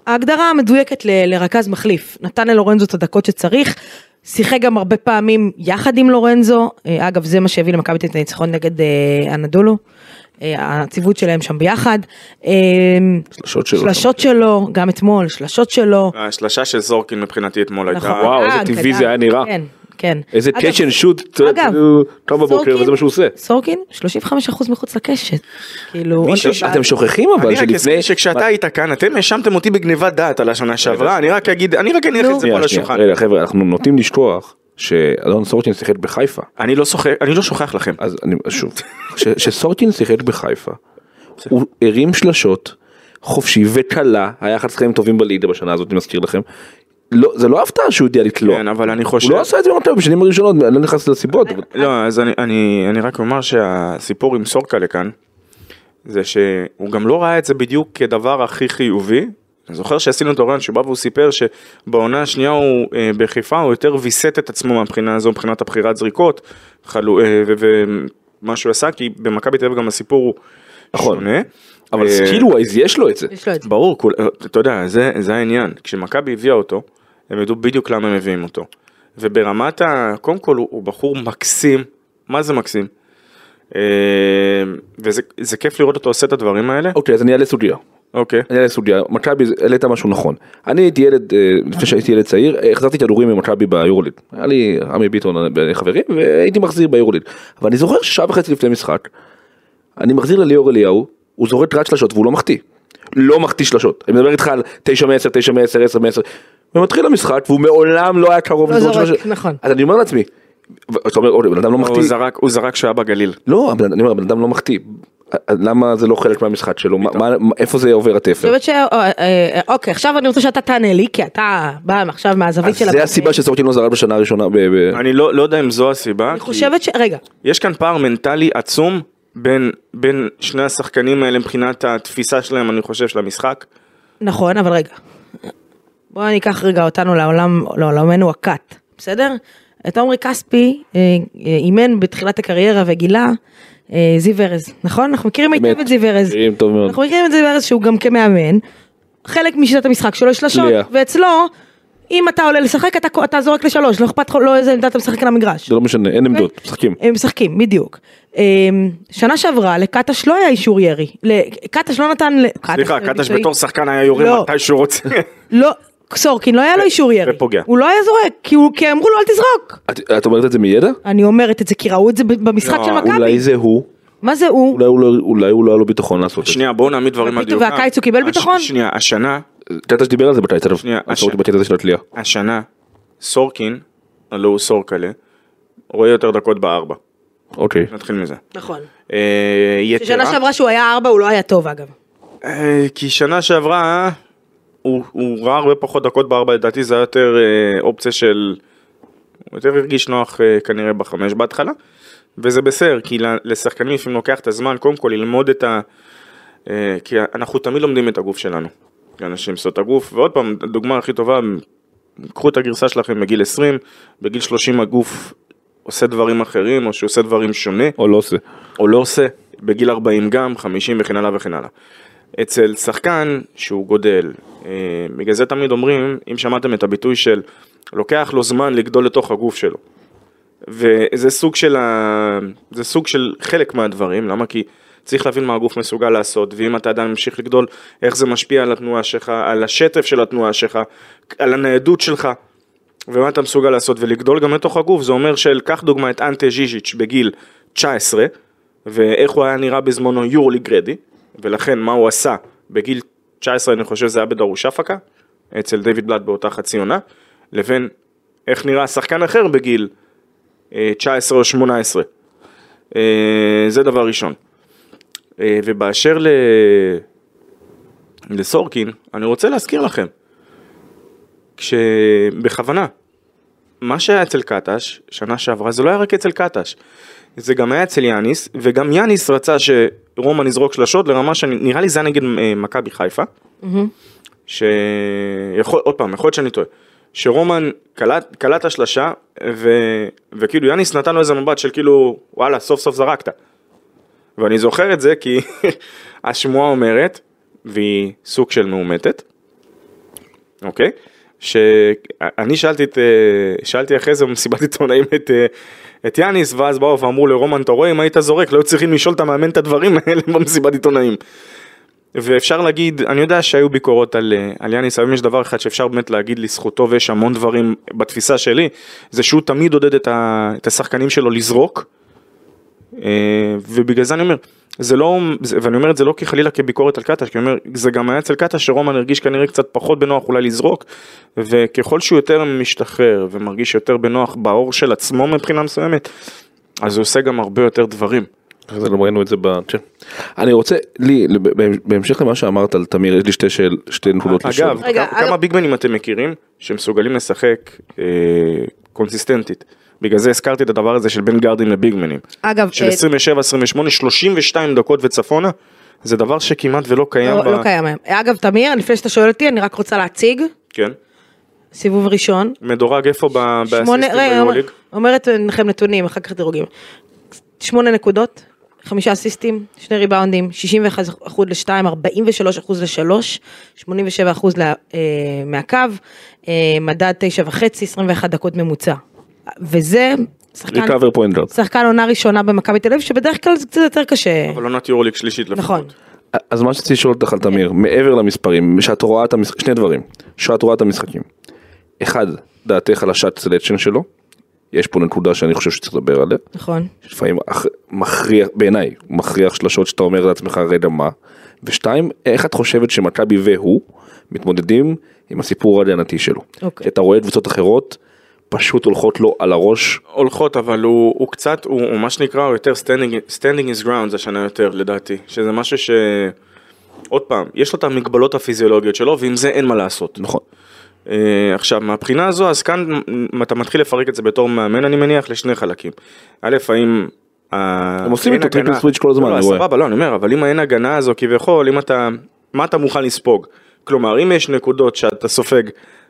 Speaker 2: ההגדרה המדויקת ל- לרכז מחליף, נתן ללורנזו את הדקות שצריך, שיחק גם הרבה פעמים יחד עם לורנזו, אה, אגב זה מה שהביא למכבי תל אביב את הניצחון נגד אה, אנדולו, אה, הציוות שלהם שם ביחד, אמ,
Speaker 4: שלשות שלו.
Speaker 2: שלשות שלו, גם אתמול, שלשות שלו,
Speaker 3: השלשה של זורקין מבחינתי אתמול הייתה.
Speaker 2: נכון.
Speaker 4: וואו, איזה
Speaker 2: אה,
Speaker 4: טבעי
Speaker 2: גדל.
Speaker 4: זה היה נראה.
Speaker 2: כן, כן.
Speaker 4: איזה
Speaker 2: אגב,
Speaker 4: קאצ' אנד שוט,
Speaker 2: אגב,
Speaker 4: קם כאילו, בבוקר
Speaker 2: סורקין-
Speaker 4: וזה מה שהוא עושה.
Speaker 2: סורקין 35% מחוץ לקשת. כאילו,
Speaker 3: מישהו-
Speaker 2: עוד-
Speaker 4: אתם שוכחים אבל
Speaker 3: אני רק אזכיר
Speaker 4: שלפני...
Speaker 3: שכשאתה היית כאן אתם האשמתם אותי בגניבת דעת על השנה שעברה אני רק אגיד אני רק אניח
Speaker 2: נו.
Speaker 3: את זה פה
Speaker 4: לא- שנייה,
Speaker 3: על
Speaker 4: שנייה,
Speaker 3: השולחן.
Speaker 4: רגע חבר'ה אנחנו נוטים לשכוח שאלון סורקין שיחק בחיפה
Speaker 3: אני לא שוחק אני לא שוכח לכם.
Speaker 4: אז אני אז שוב כש- כשסורקין שיחק בחיפה הוא הרים שלשות חופשי וקלה היה אחד השחקנים טובים בליגה בשנה הזאת אני מזכיר לכם. לא זה לא הפתעה שהוא יודע לתלות.
Speaker 3: כן אבל אני
Speaker 4: הוא
Speaker 3: חושב.
Speaker 4: לא עשה את זה במטה בשנים הראשונות אני לא נכנס לסיבות. אבל-
Speaker 3: לא אז אני אני אני רק אומר שהסיפור עם סורקה לכאן. זה שהוא גם לא ראה את זה בדיוק כדבר הכי חיובי. אני זוכר שעשינו את אוריון שבא והוא סיפר שבעונה השנייה הוא אה, בחיפה הוא יותר ויסת את עצמו מהבחינה הזו מבחינת הבחירת זריקות חלו, אה, ו- ומה שהוא עשה כי במכבי תל אביב גם הסיפור הוא
Speaker 4: נכון.
Speaker 3: שונה.
Speaker 4: אבל
Speaker 3: אה,
Speaker 4: סקיל ווייז יש לו את זה.
Speaker 2: יש לו את זה.
Speaker 3: ברור, כול, אה, אתה יודע, זה, זה העניין. כשמכבי הביאה אותו, הם ידעו בדיוק למה הם מביאים אותו. וברמת ה... קודם כל הוא, הוא בחור מקסים, מה זה מקסים? אה, וזה זה כיף לראות אותו עושה את הדברים האלה.
Speaker 4: אוקיי אז אני אעלה סוגיה.
Speaker 3: אוקיי.
Speaker 4: אני אעלה סוגיה, מכבי העלית משהו נכון. אני הייתי ילד, אה, לפני שהייתי ילד צעיר, אה, החזרתי כדורים ממכבי ביורוליד. היה לי עמי ביטון אה, חברים והייתי מחזיר ביורוליד. אבל אני זוכר שעה וחצי לפני משחק, אני מחזיר לליאור אליהו, הוא זורק רק שלשות והוא לא מחטיא. לא מחטיא שלשות. אני מדבר איתך על 9 מ-10, 9 מ-10, 10 מ-10. ומתחיל המשחק והוא מעולם לא היה קרוב
Speaker 2: לא
Speaker 4: לזרוק
Speaker 2: זורק,
Speaker 4: שלשות.
Speaker 2: נכון.
Speaker 4: אז אני אומר לעצמי, ו- אתה אומר, אוקיי, בן אדם לא
Speaker 3: הוא
Speaker 4: מחטיא.
Speaker 3: זרק, הוא זרק שהוא היה בגליל.
Speaker 4: לא, הבן- אני אומר, הבן אדם לא מחטיא. אז למה זה לא חלק מהמשחק שלו? מה- מה- איפה זה עובר התפר?
Speaker 2: אני חושבת ש... אה, אה, אוקיי, עכשיו אני רוצה שאתה תענה לי, כי אתה בא עכשיו מהזווית
Speaker 4: אז
Speaker 2: של...
Speaker 4: זה הסיבה שסורקין לא זרד בשנה הראשונה ב... ב-
Speaker 3: אני לא, לא יודע אם זו הסיבה.
Speaker 2: אני חושבת ש... רגע,
Speaker 3: יש כאן פער מנטלי עצום בין, בין שני השחקנים האלה מבחינת התפיסה שלהם, אני חושב, של המשחק.
Speaker 2: נכון, אבל רגע. בוא אני אקח רגע אותנו לעולם, לא, לעולמנו הכת, בסדר? את עמרי כספי אה, אה, אימן בתחילת הקריירה וגילה אה, זיו ארז, נכון? אנחנו מכירים היטב
Speaker 4: באמת,
Speaker 2: את זיו ארז.
Speaker 4: מכירים טוב מאוד.
Speaker 2: אנחנו
Speaker 3: נכון.
Speaker 2: מכירים את זיו ארז שהוא גם כמאמן. חלק משיטת המשחק שלו היא שלשות,
Speaker 4: ליה.
Speaker 2: ואצלו, אם אתה עולה לשחק, אתה, אתה זורק לשלוש, לא אכפת לך, לא איזה עמדה אתה משחק על המגרש.
Speaker 4: זה לא משנה, אין עמדות,
Speaker 3: כן.
Speaker 4: משחקים.
Speaker 2: הם משחקים, בדיוק. אמ, שנה שעברה לקטש לא היה אישור ירי. ל- קטש לא נתן... ל-
Speaker 3: סליחה,
Speaker 2: מקצועי.
Speaker 3: קטש בתור שחקן היה יורה
Speaker 2: לא.
Speaker 3: מתי שהוא רוצה.
Speaker 2: לא, סורקין לא היה לו אישור ירי.
Speaker 3: ופוגע.
Speaker 2: הוא לא היה זורק, כי הוא- כי אמרו לו אל תזרוק.
Speaker 4: את- את אומרת את זה מידע?
Speaker 2: אני אומרת את זה כי ראו את זה ב- במשחק
Speaker 3: לא,
Speaker 2: של מכבי.
Speaker 4: אולי זה הוא,
Speaker 2: מה זה הוא?
Speaker 4: אולי הוא לא- אולי הוא לא היה לו ביטחון לעשות את זה.
Speaker 3: שנייה, בואו נעמיד דברים על
Speaker 2: ופתאום-
Speaker 3: דיוקם.
Speaker 2: והקיץ הוא קיבל
Speaker 3: הש-
Speaker 2: ביטחון?
Speaker 3: שנייה, השנה,
Speaker 4: קטש דיבר על זה בקיץ, אגב,
Speaker 3: שנייה,
Speaker 4: עצור אותי
Speaker 3: אשר.
Speaker 4: בקטע הזה של התלייה.
Speaker 3: השנה, סורקין, הלא הוא סורקלה, רואה יותר דקות בארבע.
Speaker 4: אוקיי.
Speaker 3: נתחיל מזה.
Speaker 2: נכון.
Speaker 3: אה,
Speaker 2: ששנה
Speaker 3: יתרה,
Speaker 2: שעברה שהוא היה ארבע הוא לא היה טוב אגב.
Speaker 3: אה, כי שנה שעברה אה, הוא הוא ראה הרבה פחות דקות בארבע, לדעתי זה היה יותר אה, אופציה של... הוא יותר הרגיש נוח אה, כנראה בחמש בהתחלה, וזה בסדר, כי ל- לשחקנים לפעמים לוקח את הזמן קודם כל ללמוד את ה... אה, כי אנחנו תמיד לומדים את הגוף שלנו, אנשים שעות הגוף, ועוד פעם, הדוגמה הכי טובה, קחו את הגרסה שלכם בגיל 20, בגיל 30 הגוף עושה דברים אחרים, או שהוא עושה דברים שונה,
Speaker 4: או לא עושה.
Speaker 3: או לא עושה, בגיל 40 גם, 50 וכן הלאה וכן הלאה. אצל שחקן שהוא גודל, אה, בגלל זה תמיד אומרים, אם שמעתם את הביטוי של לוקח לו זמן לגדול לתוך הגוף שלו. וזה סוג של, ה... זה סוג של חלק מהדברים, למה? כי צריך להבין מה הגוף מסוגל לעשות, ואם אתה עדיין ממשיך לגדול, איך זה משפיע על התנועה שלך, על השטף של התנועה שלך, על הניידות שלך, ומה אתה מסוגל לעשות, ולגדול גם לתוך הגוף, זה אומר של, קח דוגמא את אנטה ז'יז'יץ' בגיל 19, ואיך הוא היה נראה בזמנו יורלי גרדי, ולכן מה הוא עשה בגיל 19, אני חושב זה היה בדרוש אפקה, אצל דיוויד בלאט באותה חצי עונה, לבין איך נראה שחקן אחר בגיל אה, 19 או 18. אה, זה דבר ראשון. אה, ובאשר ל... לסורקין, אני רוצה להזכיר לכם, כשבכוונה, מה שהיה אצל קטש, שנה שעברה, זה לא היה רק אצל קטש, זה גם היה אצל יאניס, וגם יאניס רצה שרומן יזרוק שלשות לרמה שנראה לי זה היה נגד אה, מכבי חיפה, שיכול, עוד פעם, יכול להיות שאני טועה, שרומן קלט, קלט השלשה, ו, וכאילו יאניס נתן לו איזה מבט של כאילו, וואלה, סוף סוף זרקת. ואני זוכר את זה כי השמועה אומרת, והיא סוג של מאומתת, אוקיי? שאני שאלתי את, אה, שאלתי אחרי זה במסיבת עיתונאים את, אה, את יאניס, ואז באו ואמרו לרומן, אתה רואה, אם היית זורק, לא היו צריכים לשאול את המאמן את הדברים האלה במסיבת עיתונאים. ואפשר להגיד, אני יודע שהיו ביקורות על, אה, על יאניס, אבל אם יש דבר אחד שאפשר באמת להגיד לזכותו, ויש המון דברים בתפיסה שלי, זה שהוא תמיד עודד את, ה, את השחקנים שלו לזרוק, אה, ובגלל זה אני אומר, זה לא, זה, ואני אומר את זה לא כחלילה כביקורת על קטש, כי אני אומר, זה גם היה אצל קטש שרומן הרגיש כנראה קצת פחות בנוח אולי לזרוק, וככל שהוא יותר משתחרר ומרגיש יותר בנוח באור של עצמו מבחינה מסוימת, אז הוא עושה גם הרבה יותר דברים.
Speaker 4: אחרי זה גם ראינו את זה ב... כן. אני רוצה, לי, לב- בהמשך למה שאמרת על תמיר, יש לי שתי שאל, שתי נקודות לשאול.
Speaker 3: אגב, כן.
Speaker 2: רגע,
Speaker 3: כמה- כמה
Speaker 2: אגב-
Speaker 3: ביגמנים אתם מכירים שמסוגלים לשחק אה, קונסיסטנטית? בגלל זה הזכרתי את הדבר הזה של בין גארדים לביגמנים.
Speaker 2: אגב,
Speaker 3: של
Speaker 2: אה,
Speaker 3: 27, 28, 32 דקות וצפונה, זה דבר שכמעט ולא קיים.
Speaker 2: לא
Speaker 3: ב-
Speaker 2: לא קיים היום. אגב תמיר לפני שאתה שואל אותי אני רק רוצה להציג
Speaker 3: כן.
Speaker 2: סיבוב ראשון
Speaker 3: מדורג איפה ב-
Speaker 2: שמונה,
Speaker 3: באסיסטים
Speaker 2: רגע,
Speaker 3: ביורוליג?
Speaker 2: אומרת לכם נתונים, אחר כך דירוגים. שמונה נקודות, חמישה אסיסטים, שני ריבאונדים, 61 אחוז לשתיים, 43 אחוז לשלוש, 87 אחוז לה- אה, מהקו, אה, מדד תשע וחצי, 21 דקות ממוצע. וזה שחקן,
Speaker 4: ריקאבר פוינטגארד.
Speaker 2: שחקן עונה ראשונה במכבי תל אביב, שבדרך כלל זה קצת יותר קשה.
Speaker 3: אבל לא עונת יורוליג שלישית לפחות.
Speaker 2: נכון.
Speaker 4: אז מה שרציתי לשאול אותך על
Speaker 2: כן.
Speaker 4: תמיר, מעבר למספרים, שאת רואה את המשחקים, שני דברים, שאת רואה את המשחקים. אחד, דעתך על השאט סלקשן שלו, יש פה נקודה שאני חושב שצריך לדבר עליה,
Speaker 2: נכון.
Speaker 4: שלפעמים אח- מכריח, בעיניי, הוא מכריח שלשות שאתה אומר לעצמך רגע מה, ושתיים, איך את חושבת שמכבי והוא מתמודדים עם הסיפור ההגנתי שלו.
Speaker 2: אוקיי.
Speaker 4: כי אתה רואה קבוצות אחרות, פשוט הולכות לו על הראש,
Speaker 3: הולכות אבל הוא, הוא קצת הוא, הוא מה שנקרא הוא יותר standing, standing is grounds השנה יותר לדעתי שזה משהו ש... עוד פעם יש לו את המגבלות הפיזיולוגיות שלו ועם זה אין מה לעשות.
Speaker 4: נכון.
Speaker 3: אה, עכשיו מהבחינה הזו אז כאן מ- אתה מתחיל לפרק את זה בתור מאמן אני מניח לשני חלקים. א' האם הם
Speaker 4: עושים איתו טריפל סוויץ' כל הזמן,
Speaker 3: לא,
Speaker 4: אני רואה.
Speaker 3: סבבה, לא, אני אומר, אבל אם אין הגנה הזו כביכול, אם אתה, מה אתה מוכן לספוג? כלומר, אם יש נקודות שאתה סופג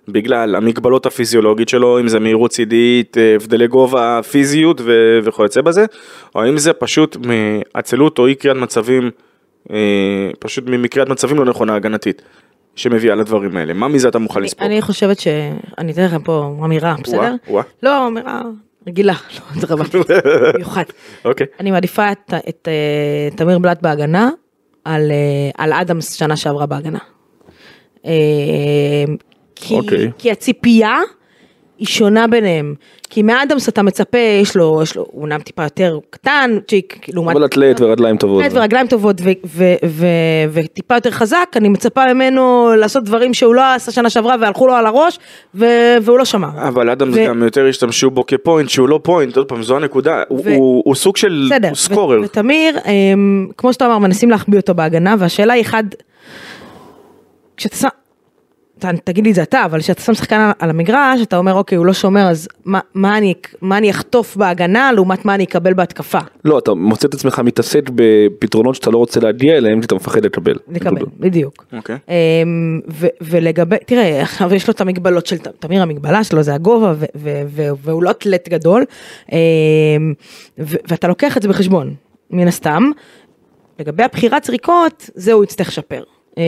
Speaker 3: בגלל המגבלות הפיזיולוגית שלו, אם זה מהירות צידית, אה, הבדלי גובה, פיזיות ו- וכיוצא בזה, או אם זה פשוט מעצלות או אי קריאת מצבים, אה, פשוט מקריאת מצבים לא נכונה הגנתית, שמביאה לדברים האלה. מה מזה אתה מוכן לספוג?
Speaker 2: אני חושבת ש... אני אתן לכם פה אמירה, בסדר?
Speaker 3: וואה.
Speaker 2: לא, אמירה רגילה, לא, זה רבה, מיוחד.
Speaker 3: אוקיי.
Speaker 2: אני מעדיפה את, את אה, תמיר בלאט בהגנה על, אה, על אדמס שנה שעברה בהגנה. אה, כי,
Speaker 4: אוקיי.
Speaker 2: כי הציפייה היא שונה ביניהם. כי מאדמס אתה מצפה, יש לו, יש לו, הוא אמנם טיפה יותר קטן, צ'יק, לעומת...
Speaker 4: אבל אתלט ורגליים טובות.
Speaker 2: באמת,
Speaker 3: לא.
Speaker 2: ורגליים טובות ו- ו- ו- וטיפה יותר חזק, אני מצפה ממנו לעשות דברים שהוא לא עשה שנה שעברה והלכו לו על הראש, ו- והוא לא שמע.
Speaker 3: אבל אדמס
Speaker 2: ו-
Speaker 3: גם יותר השתמשו בו כפוינט שהוא לא פוינט, עוד פעם זו הנקודה, הוא-
Speaker 2: ו-
Speaker 3: הוא הוא סוג של
Speaker 2: בסדר, ו-
Speaker 3: סקורר,
Speaker 2: ותמיר, אמ, כמו שאתה אמר, מנסים להחביא אותו בהגנה, והשאלה היא אחד, כשאתה שם, ת- תגיד לי את זה אתה, אבל כשאתה שם שחקן על- על המגרש, אתה אומר, אוקיי, הוא לא שומר, אז מה- מה אני- מה אני אחטוף בהגנה לעומת מה אני אקבל בהתקפה?
Speaker 4: לא, אתה מוצא את עצמך מתעסק בפתרונות שאתה לא רוצה להגיע אליהם, כי אתה מפחד לקבל.
Speaker 2: לקבל, בדיוק.
Speaker 3: אוקיי.
Speaker 2: אמ, ו- ולגבי, תראה, עכשיו יש לו את המגבלות של ת- תמיר, המגבלה שלו זה הגובה, ו- ו- ו- והוא לא אתלט גדול, אמ, ו- ואתה לוקח את זה בחשבון, מן הסתם. לגבי הבחירת זריקות, זה הוא יצטרך לשפר. אמ,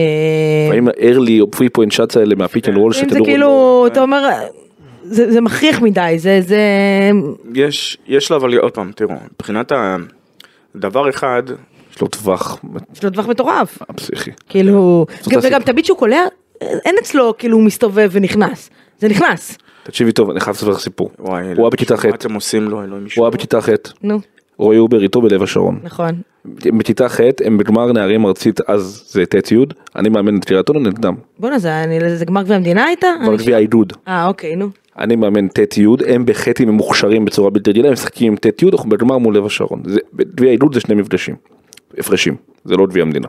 Speaker 4: האם ה-early או פרי פוינט שאץ האלה מהפיק אנד
Speaker 2: אם
Speaker 4: רול
Speaker 2: זה
Speaker 4: שכדור-
Speaker 2: כאילו, אתה אומר, זה זה מכריח מדי, זה, זה,
Speaker 3: יש יש לו אבל עוד פעם תראו מבחינת ה- דבר אחד
Speaker 4: יש לו טווח
Speaker 2: יש לו טווח מטורף,
Speaker 4: פסיכי.
Speaker 2: כאילו,
Speaker 4: אותה
Speaker 2: וגם
Speaker 4: סיבה.
Speaker 2: תמיד שהוא קולע, אין אצלו כאילו הוא מסתובב ונכנס, זה נכנס,
Speaker 4: תקשיבי טוב, אני חייב לספר לך סיפור.
Speaker 3: וואי
Speaker 4: הוא היה בכיתה ח',
Speaker 3: מה אתם עושים לו אלוהים
Speaker 4: הוא
Speaker 3: ישמור.
Speaker 4: היה בכיתה ח',
Speaker 2: נו,
Speaker 4: רועי אובר איתו בלב השרון.
Speaker 2: נכון.
Speaker 4: בכיתה ח' הם בגמר נערים ארצית אז זה ט' י', אני מאמן את קריית אונו נגדם.
Speaker 2: בואנה זה, אני- זה גמר גביע המדינה הייתה?
Speaker 4: כבר
Speaker 2: אני-
Speaker 4: גביע העידוד.
Speaker 2: אה אוקיי נו.
Speaker 4: אני מאמן ט' י', הם בחטים הם מוכשרים בצורה בלתי רגילה, הם משחקים עם ט' י', אנחנו בגמר מול לב השרון. זה- גביע העידוד זה שני מפגשים, הפרשים, זה לא גביע המדינה.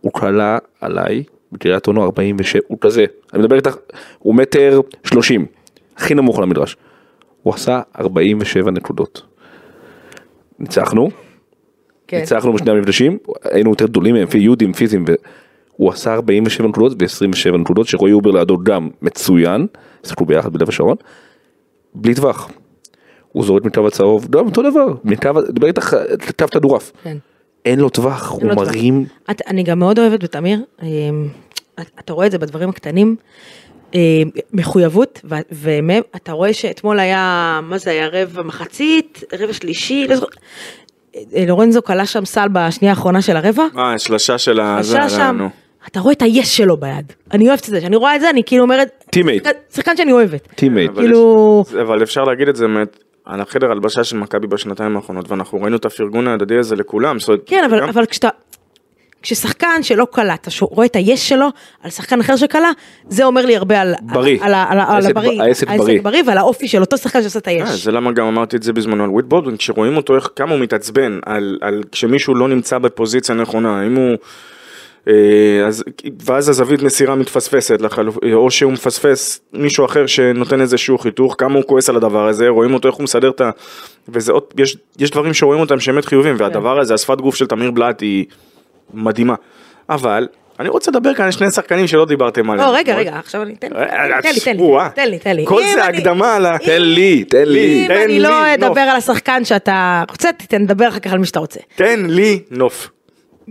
Speaker 4: הוא קלע עליי בקריית אונו 47, הוא כזה, אני מדבר איתך, הוא מטר 30, הכי נמוך על המדרש. הוא עשה 47 נקודות. ניצחנו,
Speaker 2: כן.
Speaker 4: ניצחנו בשני המפגשים, היינו יותר גדולים מהם, פי יהודים פיזיים, והוא עשה 47 נקודות ו-27 נקודות, שרועי אובר לידו גם מצוין, שיחקו ביחד בלב השרון, בלי טווח. הוא זורק מקו הצהוב, גם אותו דבר, מקו, דבר איתך, קו כדורעף.
Speaker 2: כן.
Speaker 4: אין לו טווח, הוא
Speaker 2: לא טווח.
Speaker 4: מרים,
Speaker 2: את, אני גם מאוד אוהבת בתמיר, אמ, את- אתה רואה את זה בדברים הקטנים, אמ, מחויבות, ו- ומהם, אתה רואה שאתמול היה, מה זה היה, רבע מחצית, רבע שלישי, לא זוכר. אה, לורנזו כלה שם סל בשנייה האחרונה של הרבע,
Speaker 3: אה השלשה של ה...
Speaker 2: השעה
Speaker 3: זה,
Speaker 2: שם,
Speaker 3: נו.
Speaker 2: אתה רואה את היש שלו ביד, אני אוהבת את זה, כשאני רואה את זה אני כאילו אומרת,
Speaker 4: Teammate.
Speaker 2: שחקן שאני אוהבת,
Speaker 4: טימייט.
Speaker 3: אבל
Speaker 2: כאילו,
Speaker 3: יש- אבל אפשר להגיד את זה באמת על החדר הלבשה של מכבי בשנתיים האחרונות ואנחנו ראינו את הפרגון ההדדי הזה לכולם. זאת אומרת,
Speaker 2: כן, אבל,
Speaker 3: גם-
Speaker 2: אבל כשאתה... כששחקן שלא קלע, אתה שו- רואה את היש שלו על שחקן אחר שקלע, זה אומר לי הרבה על,
Speaker 4: בריא.
Speaker 2: על, ה- על, ה- על
Speaker 4: העסק
Speaker 2: הבריא,
Speaker 4: ב- העסק בריא.
Speaker 2: ועל האופי של אותו שחקן שעושה את
Speaker 3: אה,
Speaker 2: היש.
Speaker 3: זה למה גם אמרתי את זה בזמנו על וויט בולדווין, כשרואים אותו איך כמה הוא מתעצבן על, על כשמישהו לא נמצא בפוזיציה נכונה, אם הוא... אה, אז, ואז הזווית מסירה מתפספסת לחלופ... או שהוא מפספס מישהו אחר שנותן איזשהו חיתוך, כמה הוא כועס על הדבר הזה, רואים אותו איך הוא מסדר את ה... וזה עוד, יש, יש דברים שרואים אותם שהם באמת חיובים,
Speaker 2: כן.
Speaker 3: והדבר הזה, השפת גוף של תמיר בלאט היא מדהימה. אבל, אני רוצה לדבר כאן על שני שחקנים שלא דיברתם עליהם.
Speaker 2: לא, רגע, רגע, עכשיו אני, תן לי, תן לי, תן לי,
Speaker 3: וואה.
Speaker 2: תן לי, תן לי.
Speaker 3: אה, כל
Speaker 2: אם
Speaker 3: זה
Speaker 2: אני-
Speaker 3: הקדמה ל...
Speaker 4: תן לי, תן לי.
Speaker 2: אם אני לא
Speaker 3: לי נוף.
Speaker 2: אדבר על השחקן שאתה רוצה, תתן, נדבר אחר כך על מי שאתה רוצה.
Speaker 3: תן לי נוף.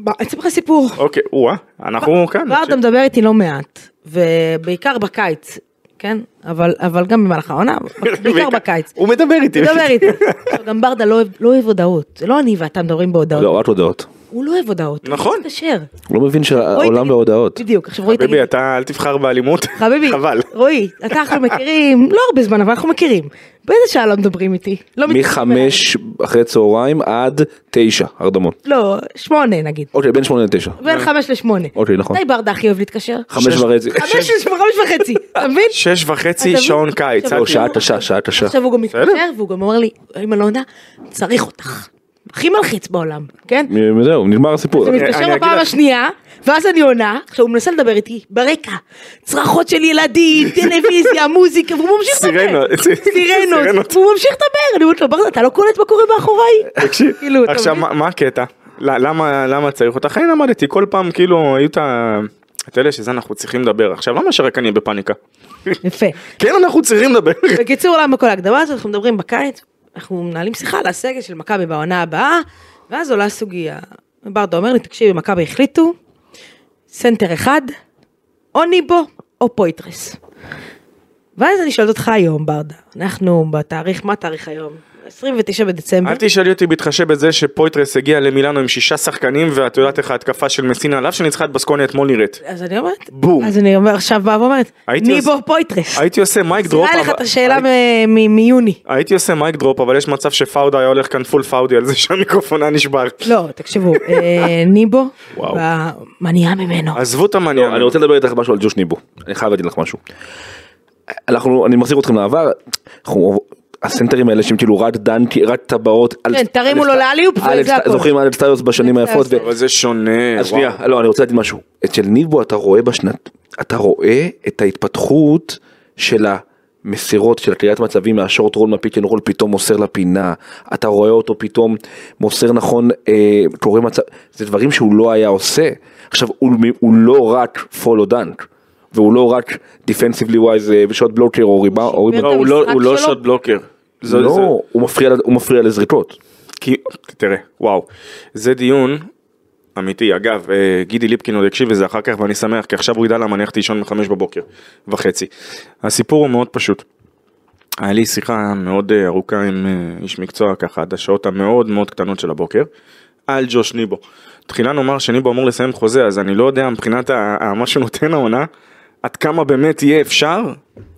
Speaker 2: ב- אני אספר לך סיפור.
Speaker 3: אוקיי, או-אה, אנחנו כאן.
Speaker 2: ברדה מדבר איתי לא מעט, ובעיקר בקיץ, כן? אבל אבל גם במהלך העונה, אבל בעיקר בקיץ.
Speaker 3: הוא מדבר איתי.
Speaker 2: דבר איתי. לא עכשיו, גם ברדה לא אוהב- לא אוהב הודעות, זה לא אני ואתה מדברים בהודעות,
Speaker 4: לא, רק הודעות.
Speaker 2: הוא לא אוהב הודעות, הוא
Speaker 3: נכון.
Speaker 2: מתקשר.
Speaker 4: הוא לא מבין
Speaker 2: רועי,
Speaker 4: שהעולם
Speaker 2: תגיד-
Speaker 4: בהודעות.
Speaker 2: בדיוק, עכשיו רועי תגיד,
Speaker 3: חביבי, אתה אל תבחר באלימות.
Speaker 2: חביבי,
Speaker 3: חבל.
Speaker 2: רועי, אתה אנחנו מכירים, לא הרבה זמן אבל אנחנו מכירים, באיזה שעה לא מדברים איתי? לא מתקשרים
Speaker 4: מחמש אחרי צהריים עד תשע, הרדמון.
Speaker 2: אליי. לא, שמונה נגיד,
Speaker 4: אוקיי, בין שמונה לתשע.
Speaker 3: אה.
Speaker 2: בין חמש לשמונה.
Speaker 4: אוקיי, נכון.
Speaker 2: מתי ברדה הכי אוהב להתקשר?
Speaker 4: חמש
Speaker 3: שש-
Speaker 4: וחצי.
Speaker 2: חמש לש- חמש וחצי, אתה מבין?
Speaker 3: שש
Speaker 2: אתה
Speaker 3: וחצי
Speaker 2: מבין?
Speaker 3: שעון קיץ.
Speaker 2: עכשיו-
Speaker 4: לא, שעה קשה, שעה קשה.
Speaker 2: עכשיו הוא גם
Speaker 3: בסדר.
Speaker 2: מתקשר והוא גם אומר לי, אם אני לא עונה, צריך אותך. הכי מלחיץ בעולם, כן?
Speaker 4: מ- זהו, נגמר הסיפור.
Speaker 2: זה
Speaker 3: אני-
Speaker 2: מתקשר
Speaker 3: אוקיי, אני אגיד
Speaker 2: בפעם
Speaker 3: לך-
Speaker 2: השנייה, ואז אני עונה, עכשיו הוא מנסה לדבר איתי, ברקע, צרחות של ילדים, טלוויזיה, מוזיקה, והוא ממשיך לדבר.
Speaker 3: סירנות.
Speaker 2: סירנות.
Speaker 3: סירנות.
Speaker 2: והוא ממשיך לדבר, אני אומרת לו, ברדה, אתה לא קולט מה קורה מאחוריי?
Speaker 3: תקשיב,
Speaker 2: כאילו, אתה
Speaker 3: עכשיו
Speaker 2: מבין?
Speaker 3: מה- מה הקטע? ל- למה למה צריך אותך? אני למדתי כל פעם כאילו היו את ה... את אלה שזה אנחנו צריכים לדבר עכשיו למה שרק אני בפאניקה?
Speaker 2: יפה.
Speaker 3: כן אנחנו צריכים לדבר.
Speaker 2: בקיצור, למה כל ההקדמה הזאת, אנחנו מדברים בקיץ, אנחנו מנהלים שיחה על הסגל של מכבי בעונה הבאה, ואז עולה סוגיה. ברדה אומר לי, תקשיבי, מכבי החליטו, סנטר אחד, או ניבו או פויטרס. ואז אני שואלת אותך היום, ברדה, אנחנו בתאריך, מה התאריך היום? 29 בדצמבר.
Speaker 3: אל תשאלי אותי בהתחשב בזה שפויטרס הגיע למילאנו עם שישה שחקנים ואת יודעת איך ההתקפה של מסינה על אף שניצחה את בסקוניה אתמול נראית.
Speaker 2: אז אני אומרת,
Speaker 3: בום.
Speaker 2: אז אני אומר, עכשיו באה ואומרת,
Speaker 3: הייתי
Speaker 2: ניבו
Speaker 3: עוש-
Speaker 2: פויטרס.
Speaker 3: הייתי עושה מייק דרופ.
Speaker 2: נראה לך
Speaker 3: אבל-
Speaker 2: את השאלה
Speaker 3: הי-
Speaker 2: מ- מ- מיוני.
Speaker 3: הייתי עושה מייק דרופ אבל יש מצב שפאודה היה הולך כאן פול פאודי על זה שהמיקרופון היה נשבר.
Speaker 2: לא, תקשיבו, אה, ניבו,
Speaker 4: וואו.
Speaker 2: מניעה ממנו.
Speaker 3: עזבו את המעניין.
Speaker 4: לא, אני רוצה לדבר איתך משהו על ג'וש ניבו, אני חייב להגיד לך משהו. אנחנו, אני מחזיר אתכם לעבר, אנחנו, הסנטרים האלה שהם כאילו רד דנקי, רד טבעות, אלף-
Speaker 2: כן, תרימו
Speaker 4: אלף-
Speaker 2: לו לאליופ וזה
Speaker 4: אלף-
Speaker 2: הכל.
Speaker 4: זוכרים אלף סטיוס בשנים
Speaker 2: אלף
Speaker 4: היפות,
Speaker 2: סטיוס.
Speaker 4: ו-
Speaker 3: אבל זה שונה.
Speaker 4: אז
Speaker 3: וואו.
Speaker 4: שנייה, לא, אני רוצה להגיד משהו. אצל ניבו אתה רואה בשנת, אתה רואה את ההתפתחות של המסירות, של הקריאת מצבים מהשורט רול, מהפיק אנד רול, פתאום מוסר לפינה. אתה רואה אותו פתאום מוסר נכון, אה, קורא מצב, זה דברים שהוא לא היה עושה. עכשיו, הוא, מ- הוא לא רק פולו דנק, והוא לא רק דיפנסיבלי ווייז ושעות בלוקר או ריבה, או ריבה.
Speaker 2: שיפר
Speaker 3: לא, הוא לא-
Speaker 2: המשחק
Speaker 3: הוא לא
Speaker 2: שלו?
Speaker 3: שוט בלוקר. זה-
Speaker 4: לא,
Speaker 3: זה-
Speaker 4: הוא מפריע, ל- הוא מפריע לזריקות.
Speaker 3: כי, תראה, וואו, זה דיון אמיתי. אגב, אה, גידי ליפקין עוד יקשיב לזה אחר כך ואני שמח, כי עכשיו הוא ידע למה אני הולך לישון בחמש בבוקר וחצי. הסיפור הוא מאוד פשוט. היה לי שיחה מאוד אה, ארוכה עם אה, איש מקצוע ככה, עד השעות המאוד מאוד קטנות של הבוקר, על ג'וש ניבו. תחילה נאמר שניבו אמור לסיים חוזה, אז אני לא יודע מבחינת ה- ה- מה שהוא נותן העונה, עד כמה באמת יהיה אפשר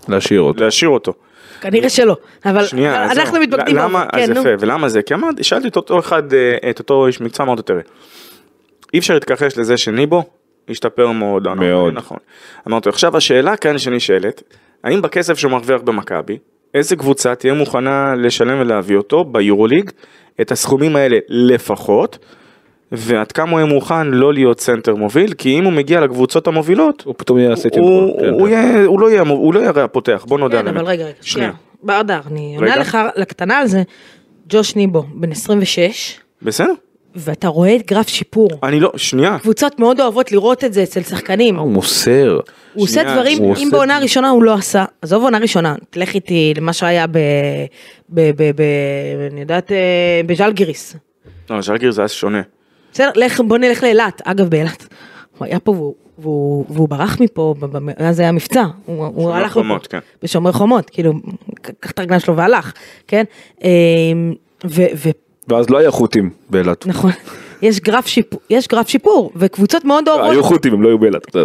Speaker 4: להשאיר אותו.
Speaker 3: להשאיר אותו.
Speaker 2: כנראה שלא, אבל
Speaker 3: שנייה, אז
Speaker 2: אה, אנחנו
Speaker 3: זהו.
Speaker 2: מתמקדים.
Speaker 3: למה,
Speaker 2: בו.
Speaker 3: אז
Speaker 2: כן, נו.
Speaker 3: יפה, ולמה זה? כי אמרתי, שאלתי את אותו אחד, אה, את אותו איש מקצוע, אמרתי, תראה, אי אפשר להתכחש לזה שניבו השתפר מאוד. העונה."
Speaker 4: מאוד.
Speaker 3: נכון. אמרתי, עכשיו השאלה כאן שנשאלת, האם בכסף שהוא מרוויח במכבי, איזה קבוצה תהיה מוכנה לשלם ולהביא אותו ביורוליג, את הסכומים האלה לפחות, ועד כמה הוא יהיה מוכן לא להיות סנטר מוביל, כי אם הוא מגיע לקבוצות המובילות,
Speaker 4: הוא פתאום יעשה את
Speaker 3: הוא-
Speaker 4: כן.
Speaker 3: הוא יהיה- הוא לא יהיה המו- הוא לא יהיה הרי הפותח, בוא נודה
Speaker 2: כן,
Speaker 3: על האמת.
Speaker 2: אבל רגע, רגע, שנייה.
Speaker 3: שנייה.
Speaker 2: ברדה, אני עונה
Speaker 3: רגע.
Speaker 2: לך לקטנה על זה, ג'וש ניבו, בן 26,
Speaker 3: בסדר?
Speaker 2: ואתה רואה את גרף שיפור.
Speaker 3: אני לא, שנייה.
Speaker 2: קבוצות מאוד אוהבות לראות את זה אצל שחקנים.
Speaker 4: הוא מוסר.
Speaker 2: הוא עושה
Speaker 3: שנייה,
Speaker 2: דברים,
Speaker 4: הוא
Speaker 2: אם
Speaker 4: עושה-
Speaker 2: בעונה הראשונה הוא לא עשה, עזוב עונה ראשונה, תלך איתי למה שהיה ב... ב... ב... ב... אני יודעת, אה, בז'לגיריס.
Speaker 3: לא, ז'לגיר זה אז שונה.
Speaker 2: בסדר, לך, בוא נלך לאילת, אגב באילת. הוא היה פה והוא, והוא, והוא ברח מפה, ב- ב- אז היה מבצע, הוא, הוא
Speaker 3: שומר
Speaker 2: הלך
Speaker 3: חומות,
Speaker 2: מפה,
Speaker 3: כן.
Speaker 2: בשומר חומות, כאילו, קח את הרגליים שלו והלך, כן? אמ, ו, ו,
Speaker 4: ואז לא היה חות'ים באילת.
Speaker 2: נכון, יש גרף שיפור, יש גרף שיפור, וקבוצות מאוד אוהבות,
Speaker 4: היו חות'ים, הם לא היו באילת.
Speaker 2: אה,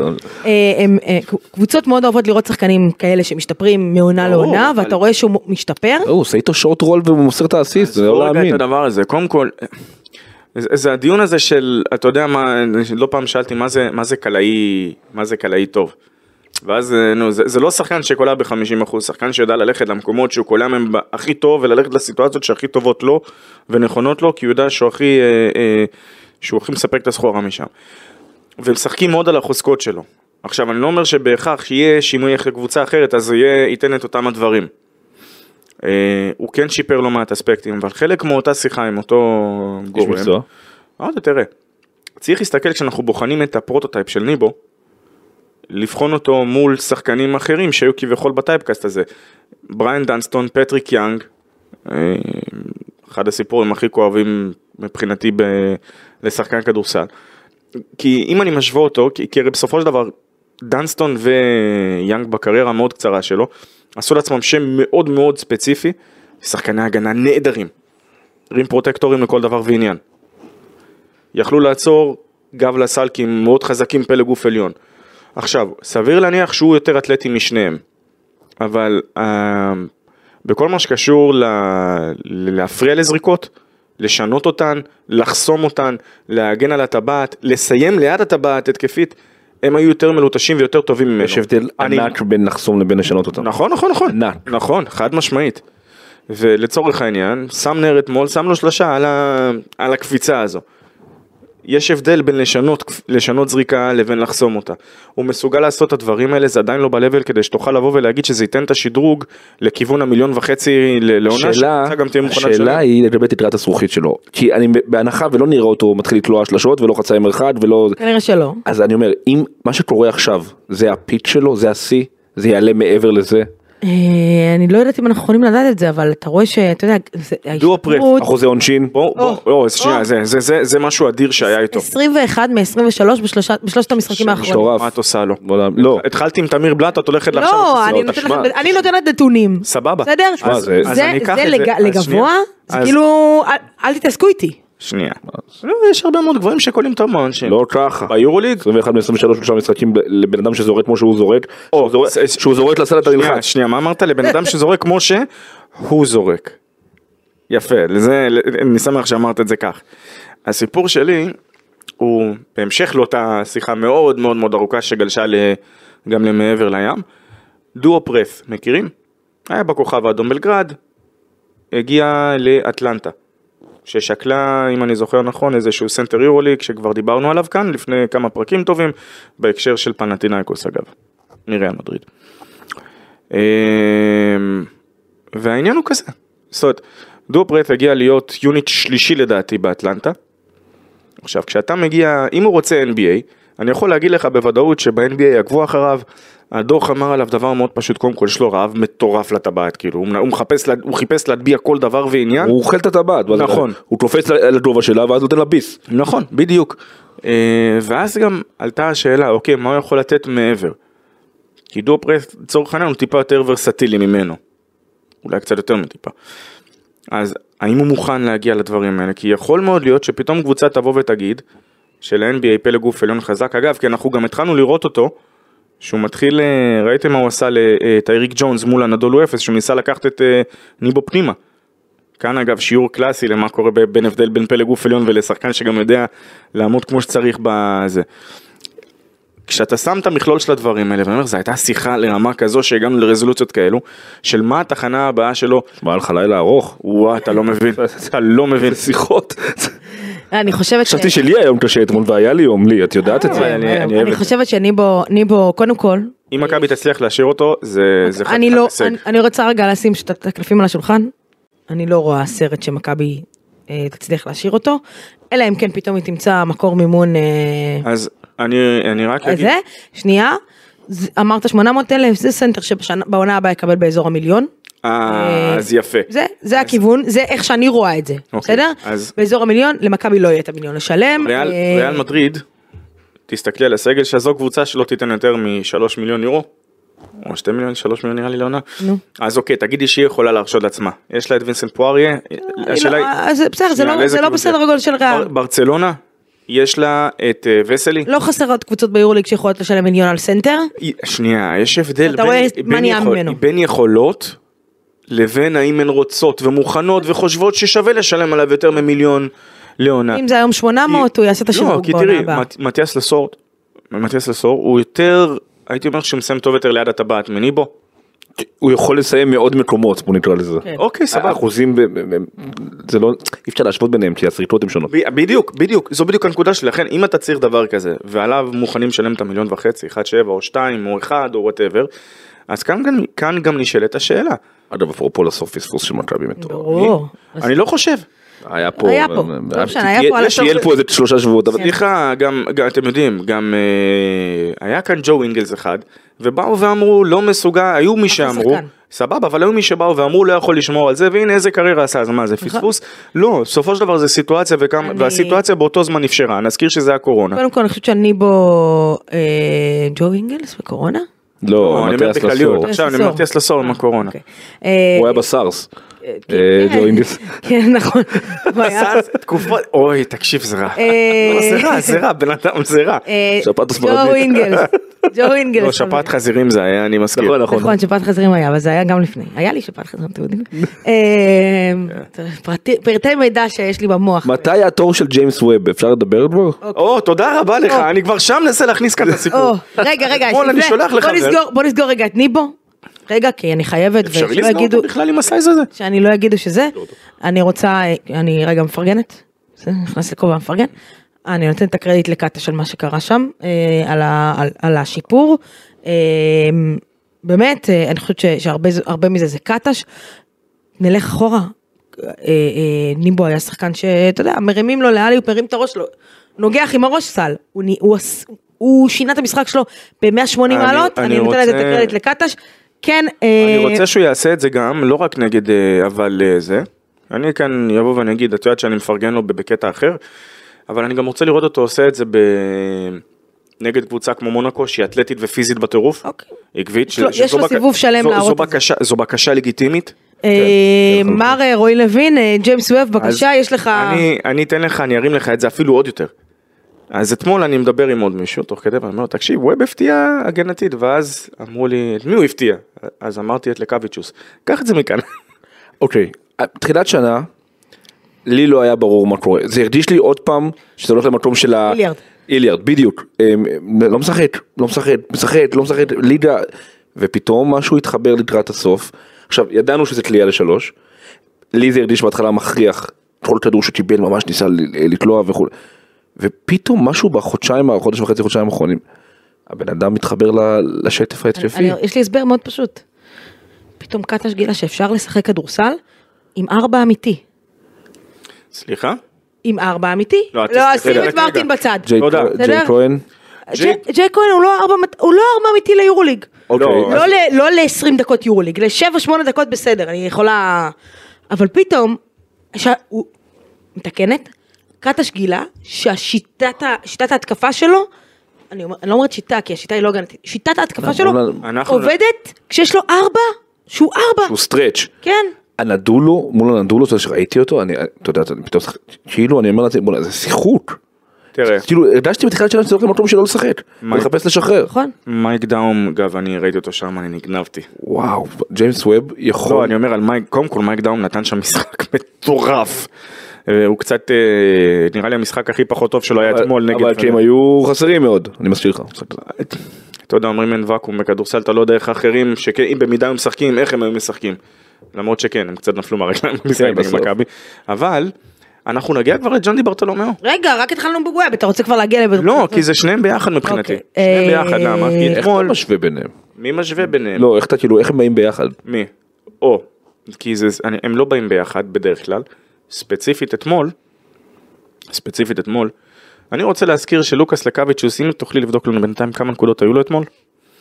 Speaker 2: הם, אה, קבוצות מאוד אוהבות לראות שחקנים כאלה שמשתפרים מעונה
Speaker 3: ברור,
Speaker 2: לעונה,
Speaker 3: אבל-
Speaker 2: ואתה רואה שהוא משתפר,
Speaker 4: לא, הוא עושה איתו שורט רול והוא מוסר את האסיסט, זה
Speaker 3: עזבו
Speaker 4: לא
Speaker 3: רגע
Speaker 4: להאמין.
Speaker 3: את הדבר הזה, קודם כל, זה, זה הדיון הזה של, אתה יודע מה, לא פעם שאלתי מה זה, מה זה קלעי, מה זה קלעי טוב. ואז אה, נו, זה, זה לא שחקן שקולע ב-50%, שחקן שיודע ללכת למקומות שהוא קולע מהם ב- הכי טוב וללכת לסיטואציות שהכי טובות לו ונכונות לו, כי הוא יודע שהוא הכי, אה, אה, שהוא הכי מספק את הסחורה משם. ומשחקים מאוד על החוזקות שלו. עכשיו, אני לא אומר שבהכרח שיהיה שינוי איך לקבוצה אחרת, אז הוא יהיה, ייתן את אותם הדברים. אה, הוא כן שיפר לא מעט אספקטים, אבל חלק מאותה שיחה עם אותו
Speaker 4: איש
Speaker 3: גורם,
Speaker 4: מקצוע.
Speaker 3: אמרתי, אה, תראה, צריך להסתכל כשאנחנו בוחנים את הפרוטוטייפ של ניבו, לבחון אותו מול שחקנים אחרים שהיו כביכול בטייפקאסט הזה. בריין דנסטון, פטריק יאנג, אה, אחד הסיפורים הכי כואבים מבחינתי ב... לשחקן כדורסל. כי אם אני משווה אותו, כי, כי הרי בסופו של דבר דנסטון ויאנג בקריירה המאוד קצרה שלו, עשו לעצמם שם מאוד מאוד ספציפי, שחקני הגנה נהדרים, רים פרוטקטורים לכל דבר ועניין. יכלו לעצור גב לסל כי הם מאוד חזקים פלא גוף עליון. עכשיו, סביר להניח שהוא יותר אתלטי משניהם, אבל uh, בכל מה שקשור ל... ל- להפריע לזריקות, לשנות אותן, לחסום אותן, להגן על הטבעת, לסיים ליד הטבעת התקפית, הם היו יותר מלוטשים ויותר טובים ממנו.
Speaker 4: יש הבדל
Speaker 3: אני- לא.
Speaker 4: ענק בין לחסום לבין לשנות אותם.
Speaker 3: נכון, נכון, נכון.
Speaker 4: ענק.
Speaker 3: נכון, חד משמעית. ולצורך העניין, שם נר אתמול, שם לו שלשה על, ה... על הקפיצה הזו. יש הבדל בין לשנות, לשנות זריקה לבין לחסום אותה. הוא מסוגל לעשות את הדברים האלה, זה עדיין לא ב-level כדי שתוכל לבוא ולהגיד שזה ייתן את השדרוג לכיוון המיליון וחצי ל- לעונה,
Speaker 4: השאלה,
Speaker 3: שהקבוצה גם תהיה מוכנה
Speaker 4: השאלה
Speaker 3: לשלם.
Speaker 4: היא לגבי תקרת הזכוכית שלו, כי אני בהנחה ולא נראה אותו מתחיל לתלוע שלשות ולא חצאי מרחק ולא,
Speaker 2: כנראה שלא.
Speaker 4: אז אני אומר אם מה שקורה עכשיו זה הפיט שלו זה השיא זה יעלה מעבר לזה
Speaker 2: אה, אני לא יודעת אם אנחנו יכולים לדעת את זה, אבל אתה רואה שאתה יודע, זה-
Speaker 3: דואו פרט,
Speaker 2: ההשתפרות-
Speaker 4: אחוזי עונשין
Speaker 3: בוא, בוא,
Speaker 2: או,
Speaker 3: בוא, אז שנייה,
Speaker 2: או.
Speaker 3: זה, זה, זה, זה משהו אדיר שהיה איתו.
Speaker 2: 21 מ-23 בשלושת המשחקים האחרונים.
Speaker 4: מטורף.
Speaker 3: מה את עושה לו?
Speaker 4: וואלה, לא
Speaker 3: התחלתי עם תמיר בלאט, את הולכת לעכשיו
Speaker 2: לא, אני
Speaker 3: לפציעות,
Speaker 2: נותנת
Speaker 3: תשמע.
Speaker 2: לכם- אני נותנת נתונים.
Speaker 3: סבבה. אה,
Speaker 2: בסדר?
Speaker 4: שמע,
Speaker 2: אז-
Speaker 4: זה-
Speaker 2: זה-
Speaker 3: אז אני אקח
Speaker 2: זה
Speaker 3: את זה.
Speaker 2: לג-
Speaker 3: אז
Speaker 2: לגבוה,
Speaker 3: שנייה.
Speaker 2: זה
Speaker 3: אז-
Speaker 2: כאילו, אל- אל תתעסקו איתי.
Speaker 3: שנייה. לא, יש הרבה מאוד גבוהים שקולים את המעונשין.
Speaker 4: לא ככה
Speaker 3: ביורוליג?
Speaker 4: 21 מ-23 שלושה משחקים ב- לבן אדם שזורק כמו שהוא זורק שהוא זורק-
Speaker 3: זה-
Speaker 4: שהוא זורק לסל אתה
Speaker 3: שנייה,
Speaker 4: נלחץ
Speaker 3: שנייה, מה אמרת? לבן אדם שזורק כמו שהוא זורק. יפה, לזה, אני שמח שאמרת את זה כך. הסיפור שלי הוא בהמשך לאותה שיחה מאוד מאוד מאוד ארוכה שגלשה ל- גם למעבר לים. דואו פרס, מכירים? היה בכוכב האדום בלגרד, הגיע לאטלנטה. ששקלה, אם אני זוכר נכון, איזשהו סנטר יורוליג שכבר דיברנו עליו כאן לפני כמה פרקים טובים, בהקשר של פנטינאיקוס אגב, מריאל מדריד. אמ, והעניין הוא כזה, זאת אומרת, דופרט הגיע להיות יוניט שלישי לדעתי באטלנטה. עכשיו, כשאתה מגיע, אם הוא רוצה NBA, אני יכול להגיד לך בוודאות שב-NBA יעקבו אחריו, הדוח אמר עליו דבר מאוד פשוט, קודם כל יש לו רעב מטורף לטבעת, כאילו, הוא, הוא, מחפש, לה- הוא חיפש להטביע כל דבר ועניין.
Speaker 4: הוא אוכל את הטבעת ואז-
Speaker 3: נכון.
Speaker 4: הוא קופץ ל- על הדובה שלה ואז נותן לה ביס
Speaker 3: נכון, בדיוק. אה, ואז גם עלתה השאלה, אוקיי, מה הוא יכול לתת מעבר? כי דו פרס, לצורך העניין, הוא טיפה יותר ורסטילי ממנו. אולי קצת יותר מטיפה. אז האם הוא מוכן להגיע לדברים האלה? כי יכול מאוד להיות שפתאום קבוצה תבוא ותגיד של-NBA פלג גוף עליון חזק, אגב, כי אנחנו גם התחלנו לראות אותו, שהוא מתחיל, אה, ראיתם מה הוא עשה לטייריק ג'ונס מול הנדולו אפס, שהוא ניסה לקחת את אה, ניבו פנימה. כאן אגב שיעור קלאסי למה קורה ב- בין הבדל בין פלג גוף עליון ולשחקן שגם יודע לעמוד כמו שצריך בזה. כשאתה שם את המכלול של הדברים האלה, ואני אומר, זו הייתה שיחה לרמה כזו שהגענו לרזולוציות כאלו, של מה התחנה הבאה שלו,
Speaker 4: מה היה לך לילה ארוך
Speaker 3: וואו, אתה לא מבין, אתה לא מבין.
Speaker 4: שיחות
Speaker 2: אני חושבת ש... לא,
Speaker 4: חשבתי שלי היה יום קשה אתמול והיה לי יום לי את יודעת את זה
Speaker 3: אה, אני- אני אוהב
Speaker 2: אני
Speaker 3: את זה.
Speaker 2: חושבת שניבו, ניבו, קודם כל,
Speaker 3: אם מכבי תצליח להשאיר אותו, זה זה
Speaker 2: אני
Speaker 3: חתיכת
Speaker 2: לא,
Speaker 3: הישג.
Speaker 2: אני- אני רוצה רגע לשים שאת הקלפים על השולחן. אני לא רואה סרט שמכבי אה, תצליח להשאיר אותו, אלא אם כן פתאום היא תמצא מקור מימון אה,
Speaker 3: אז אני אני רק אגיד,
Speaker 2: זה. שנייה, ז- אמרת 800 אלף, זה סנטר שבעונה הבאה יקבל באזור המיליון.
Speaker 3: אה,
Speaker 2: אה,
Speaker 3: אז יפה.
Speaker 2: זה, זה הכיוון, זה איך שאני רואה את זה,
Speaker 3: אוקיי,
Speaker 2: בסדר?
Speaker 3: אז-
Speaker 2: באזור המיליון, למכבי לא יהיה את המיליון לשלם.
Speaker 3: ריאל
Speaker 2: אה,
Speaker 3: ריאל מדריד, תסתכלי על הסגל שלה, זו קבוצה שלא תיתן יותר מ-3 מיליון יורו, או 2 מיליון, 3 מיליון נראה לי לעונה.
Speaker 2: נו.
Speaker 3: אז אוקיי, תגידי שהיא יכולה להרשות לעצמה. יש לה את וינסנט פואריה,
Speaker 2: אני
Speaker 3: השאלה
Speaker 2: לא-
Speaker 3: היא...
Speaker 2: אה, זה בסדר, זה
Speaker 3: שנייה,
Speaker 2: לא-
Speaker 3: לאיזה
Speaker 2: זה לא
Speaker 3: כיוון
Speaker 2: בסדר
Speaker 3: זה?
Speaker 2: גודל של ריאל.
Speaker 3: בר- ברצלונה, יש לה את אה, וסלי.
Speaker 2: לא חסרות קבוצות ביורוליג שיכולות לשלם מיליון על סנטר.
Speaker 3: היא- שנייה, יש הבדל
Speaker 2: אתה
Speaker 3: בין-
Speaker 2: רואה
Speaker 3: בין
Speaker 2: מה נהיה
Speaker 3: יכול-
Speaker 2: ממנו.
Speaker 3: בין יכולות לבין האם הן רוצות ומוכנות וחושבות ששווה לשלם עליו יותר ממיליון לעונה.
Speaker 2: אם זה היום 800,
Speaker 3: כי-
Speaker 2: הוא יעשה את
Speaker 3: לא,
Speaker 2: השדרוג
Speaker 3: כי
Speaker 2: בעונה
Speaker 3: תראי,
Speaker 2: הבאה.
Speaker 3: מת- מתיאס לסור, מתיאס לסור הוא יותר, הייתי אומר שהוא מסיים טוב יותר ליד הטבעת מניבו.
Speaker 4: הוא יכול לסיים מעוד מקומות בוא נקרא לזה.
Speaker 2: כן.
Speaker 3: אוקיי, סבבה.
Speaker 4: אחוזים ב- ב- ב- זה לא אי אפשר להשוות ביניהם כי הסריטות הן שונות.
Speaker 3: ב- בדיוק, בדיוק, זו בדיוק הנקודה שלי, לכן אם אתה צריך דבר כזה, ועליו מוכנים לשלם את המיליון וחצי, 1.7 או 2 או 1 או וואטאבר, אז כאן, גם- כאן גם נשאלת השאלה.
Speaker 4: אגב אפרופו לסוף פספוס של מכבי מטורף.
Speaker 2: ברור. אז-
Speaker 3: אני לא חושב.
Speaker 4: היה פה.
Speaker 2: היה פה. לא משנה, היה פה על
Speaker 4: יש טייל
Speaker 3: השרשרת.
Speaker 4: פה איזה שלושה שבועות.
Speaker 2: כן.
Speaker 4: אבל-
Speaker 3: סליחה, גם, גם, אתם יודעים, גם אה, היה כאן ג'ו אינגלס אחד, ובאו ואמרו, לא מסוגל, היו
Speaker 2: אה,
Speaker 3: מי שאמרו,
Speaker 2: שחקן.
Speaker 3: סבבה, אבל היו מי שבאו ואמרו, לא יכול לשמור על זה, והנה איזה קריירה עשה, אז מה, זה פספוס? לא, בסופו של דבר זה סיטואציה, וכמה,
Speaker 2: נכון. אני-
Speaker 3: והסיטואציה באותו זמן אפשרה, נזכיר שזה הקורונה.
Speaker 2: קודם כל, אני חושבת שאני בו אה, ג'ו אינגלס בקורונה.
Speaker 4: לא,
Speaker 3: אני אומר
Speaker 4: מטיאס
Speaker 3: בכלליות,
Speaker 4: לסור.
Speaker 3: עכשיו אני אומר מטיאס לסור עם הקורונה.
Speaker 2: אוקיי. אה,
Speaker 4: הוא היה בסארס.
Speaker 2: אה,
Speaker 4: אה,
Speaker 2: כן.
Speaker 4: ג'ו אינגלס.
Speaker 2: כן, נכון. הוא היה-
Speaker 3: סאז, תקופות, אוי, תקשיב, זה רע.
Speaker 2: אה,
Speaker 3: לא, זה רע, זה רע, בן אדם, זה רע.
Speaker 2: אה,
Speaker 4: שפעת
Speaker 2: ג'ו
Speaker 4: הספרדית.
Speaker 2: אינגלס. ג'ו אינגלס.
Speaker 3: לא, שפעת חזירים זה היה, אני מסכים.
Speaker 4: נכון נכון.
Speaker 2: נכון, שפעת חזירים היה, אבל זה היה גם לפני. היה לי שפעת חזירים, אתם יודעים. אה, פרטי- פרטי מידע שיש לי במוח.
Speaker 4: מתי התור של ג'יימס ווב אפשר לדבר כבר?
Speaker 3: או, תודה רבה לך,
Speaker 2: אוקיי. או.
Speaker 3: אני כבר שם מנסה להכניס כאן את הסיפור.
Speaker 2: או, רגע, רגע,
Speaker 3: אתמול אני
Speaker 2: לפני-
Speaker 3: שולח
Speaker 2: בוא
Speaker 3: לחבר.
Speaker 2: נסגור- בוא נסגור רגע את ניבו. רגע, כי אני חייבת,
Speaker 3: אפשרי
Speaker 2: ושלא
Speaker 3: לסגור
Speaker 2: יגידו,
Speaker 3: אותו בכלל עם הסייז הזה?
Speaker 2: שאני לא יגידו שזה, אני רוצה, אני רגע מפרגנת, זה נכנס לכובע המפרגן, אני נותנת את הקרדיט לקאטה של מה שקרה שם, אה, על, ה, על, על השיפור. אה, באמת, אה, אני חושבת ש, שהרבה זה- הרבה מזה זה קטש. נלך אחורה, אה, אה, נימבו היה שחקן שאתה יודע, מרימים לו לאליופ, מרים את הראש שלו, נוגח עם הראש סל, הוא, נ- הוא, עש- הוא שינה את המשחק שלו ב-180
Speaker 3: אני-
Speaker 2: מעלות,
Speaker 3: אני
Speaker 2: אני נותנת את
Speaker 3: רוצה-
Speaker 2: הקרדיט לקטש. כן,
Speaker 3: אני
Speaker 2: אה,
Speaker 3: רוצה שהוא יעשה את זה גם, לא רק נגד אה, אבל אה, זה. אני כאן אבוא ואני אגיד, את יודעת שאני מפרגן לו בקטע אחר, אבל אני גם רוצה לראות אותו עושה את זה ב... נגד קבוצה כמו מונקו שהיא אתלטית ופיזית בטירוף,
Speaker 2: אוקיי.
Speaker 3: עקבית,
Speaker 2: יש לו-
Speaker 3: שזו
Speaker 2: יש לו
Speaker 3: בק-
Speaker 2: סיבוב שלם
Speaker 3: זו-
Speaker 2: להראות
Speaker 3: זו
Speaker 2: את זה.
Speaker 3: בקשה- זו בקשה לגיטימית.
Speaker 2: אה,
Speaker 3: כן,
Speaker 2: מר אה, רועי לוין, אה, ג'יימס ווב, בבקשה,
Speaker 3: אז
Speaker 2: יש לך...
Speaker 3: אני, אני אתן לך, אני ארים לך את זה אפילו עוד יותר. אז אתמול אני מדבר עם עוד מישהו, תוך כדי, ואני אומר לו, תקשיב, ווב הפתיע הגנתית, ואז אמרו לי, את מי הוא הפתיע? אז אמרתי את לקוויצ'וס, קח את זה מכאן.
Speaker 4: אוקיי, תחילת שנה, לי לא היה ברור מה קורה, זה הרגיש לי עוד פעם שזה הולך למקום של ה...
Speaker 2: איליארד.
Speaker 4: איליארד, בדיוק, אמ, לא משחק, לא משחק, משחק, לא משחק, ליגה, ופתאום משהו התחבר לקראת הסוף, עכשיו ידענו שזה תלייה לשלוש, לי זה הרגיש בהתחלה מכריח, כל כדור שקיבל ממש ניסה ל- לתלוע וכולי, ופתאום משהו בחודשיים, החודש וחצי, חודשיים האחרונים, הבן אדם מתחבר ל- לשטף ההתקפי,
Speaker 2: אני- יש לי הסבר מאוד פשוט. פתאום קטש גילה שאפשר לשחק כדורסל עם ארבע אמיתי.
Speaker 3: סליחה?
Speaker 2: עם ארבע אמיתי?
Speaker 3: לא, את
Speaker 2: לא,
Speaker 3: תסלחי לי,
Speaker 2: שים את
Speaker 3: רגע,
Speaker 2: מרטין
Speaker 3: רגע.
Speaker 2: בצד.
Speaker 4: ג'יי
Speaker 3: תודה.
Speaker 4: ג'יי
Speaker 2: בסדר?
Speaker 4: כהן,
Speaker 2: ג'י- ג'יי כהן הוא לא ארבע מת- הוא לא ארבע אמיתי ליורוליג.
Speaker 4: אוקיי,
Speaker 3: לא,
Speaker 4: אז-
Speaker 2: לא ל- לא ל-20 דקות יורוליג, ל-7-8 דקות בסדר, אני יכולה... אבל פתאום, ש- הוא מתקנת, קטש גילה שהשיטת ה- שיטת ההתקפה שלו, אני אומר- אני לא אומרת שיטה, כי השיטה היא לא הגנתית, שיטת ההתקפה שלו
Speaker 3: אנחנו- לא-
Speaker 2: עובדת כשיש לו ארבע, שהוא ארבע,
Speaker 4: הוא סטרץ'.
Speaker 2: כן.
Speaker 4: הנדולו מול הנדולו, אתה יודע שראיתי אותו, אני, אתה יודע, אתה פתאום, שחק- כאילו אני אומר לעצמי, בוא'נה, זה שיחוק.
Speaker 3: תראה,
Speaker 4: כאילו, הרגשתי בתחילת שנה שזה הולך למקום שלא לשחק,
Speaker 3: מה?
Speaker 4: ולחפש לשחרר.
Speaker 2: נכון?
Speaker 3: מייק דאום, אגב, אני ראיתי אותו שם, אני נגנבתי.
Speaker 4: וואו, ג'יימס ווב
Speaker 3: לא,
Speaker 4: יכול,
Speaker 3: אני אומר על מייק, קודם כל מייק דאום נתן שם משחק מטורף. אה, הוא קצת, אה, נראה לי המשחק הכי פחות טוב שלו היה
Speaker 4: אבל-
Speaker 3: אתמול נגד...
Speaker 4: אבל כי הם היו חסרים מאוד, אני מזכיר לך.
Speaker 3: אתה יודע, אומרים אין ואקום בכדורסל, אתה לא יודע איך האחרים, שכן, אם במידה הם משחקים, איך הם היו משחקים. למרות שכן, הם קצת נפלו מהרגליים במשחק נגד
Speaker 4: בסוף.
Speaker 3: מכבי. אבל, אנחנו נגיע כבר לג'ונדי ברטולומיאו.
Speaker 2: רגע, רק התחלנו בוואב, אתה רוצה כבר להגיע לב...
Speaker 3: לא, כי זה שניהם ביחד מבחינתי.
Speaker 2: אוקיי.
Speaker 3: שניהם
Speaker 2: אה,
Speaker 3: ביחד, למה? כי
Speaker 4: איך אתה
Speaker 3: אתמול,
Speaker 4: משווה ביניהם?
Speaker 3: מי משווה ביניהם?
Speaker 4: לא, איך אתה כאילו, איך הם באים ביחד?
Speaker 3: מי? או, כי זה, אני, הם לא באים ביחד בדרך כלל. ספציפית אתמול, ספציפית אתמול, אני רוצה להזכיר שלוקאס לקוויצ'וס, אם תוכלי לבדוק לנו בינתיים כמה נקודות היו לו אתמול,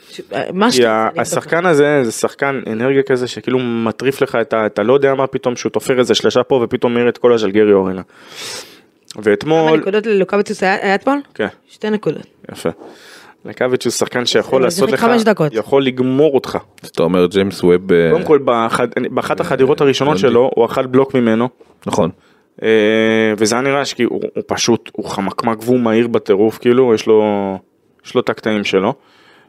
Speaker 2: ש- אה, מה
Speaker 3: כי
Speaker 2: שאתה...
Speaker 3: ה-
Speaker 2: אני אבדוק.
Speaker 3: השחקן הזה זה שחקן אנרגיה כזה שכאילו מטריף לך את ה... אתה לא יודע מה פתאום שהוא תופר איזה שלשה פה ופתאום מעיר את כל הז'לגרי אורנה.
Speaker 2: כמה
Speaker 3: ואתמול,
Speaker 2: נקודות ללוקאביצוס היה היה אתמול?
Speaker 3: כן,
Speaker 2: שתי נקודות.
Speaker 3: יפה. לקוויצ'וס שחקן שיכול
Speaker 2: זה
Speaker 3: לעשות
Speaker 2: שיחק
Speaker 3: לך,
Speaker 2: חמש דקות.
Speaker 3: יכול לגמור אותך.
Speaker 4: אז אתה אומר ג'יימס ווב, אה,
Speaker 3: קודם כל באחד- באחת החדירות הראשונות
Speaker 4: הבנתי.
Speaker 3: שלו הוא אכל בלוק ממנו.
Speaker 4: נכון.
Speaker 3: אה, וזה היה נראה שכאילו הוא, הוא פשוט, הוא חמקמק והוא מהיר בטירוף, כאילו, יש לו, יש לו את הקטעים שלו.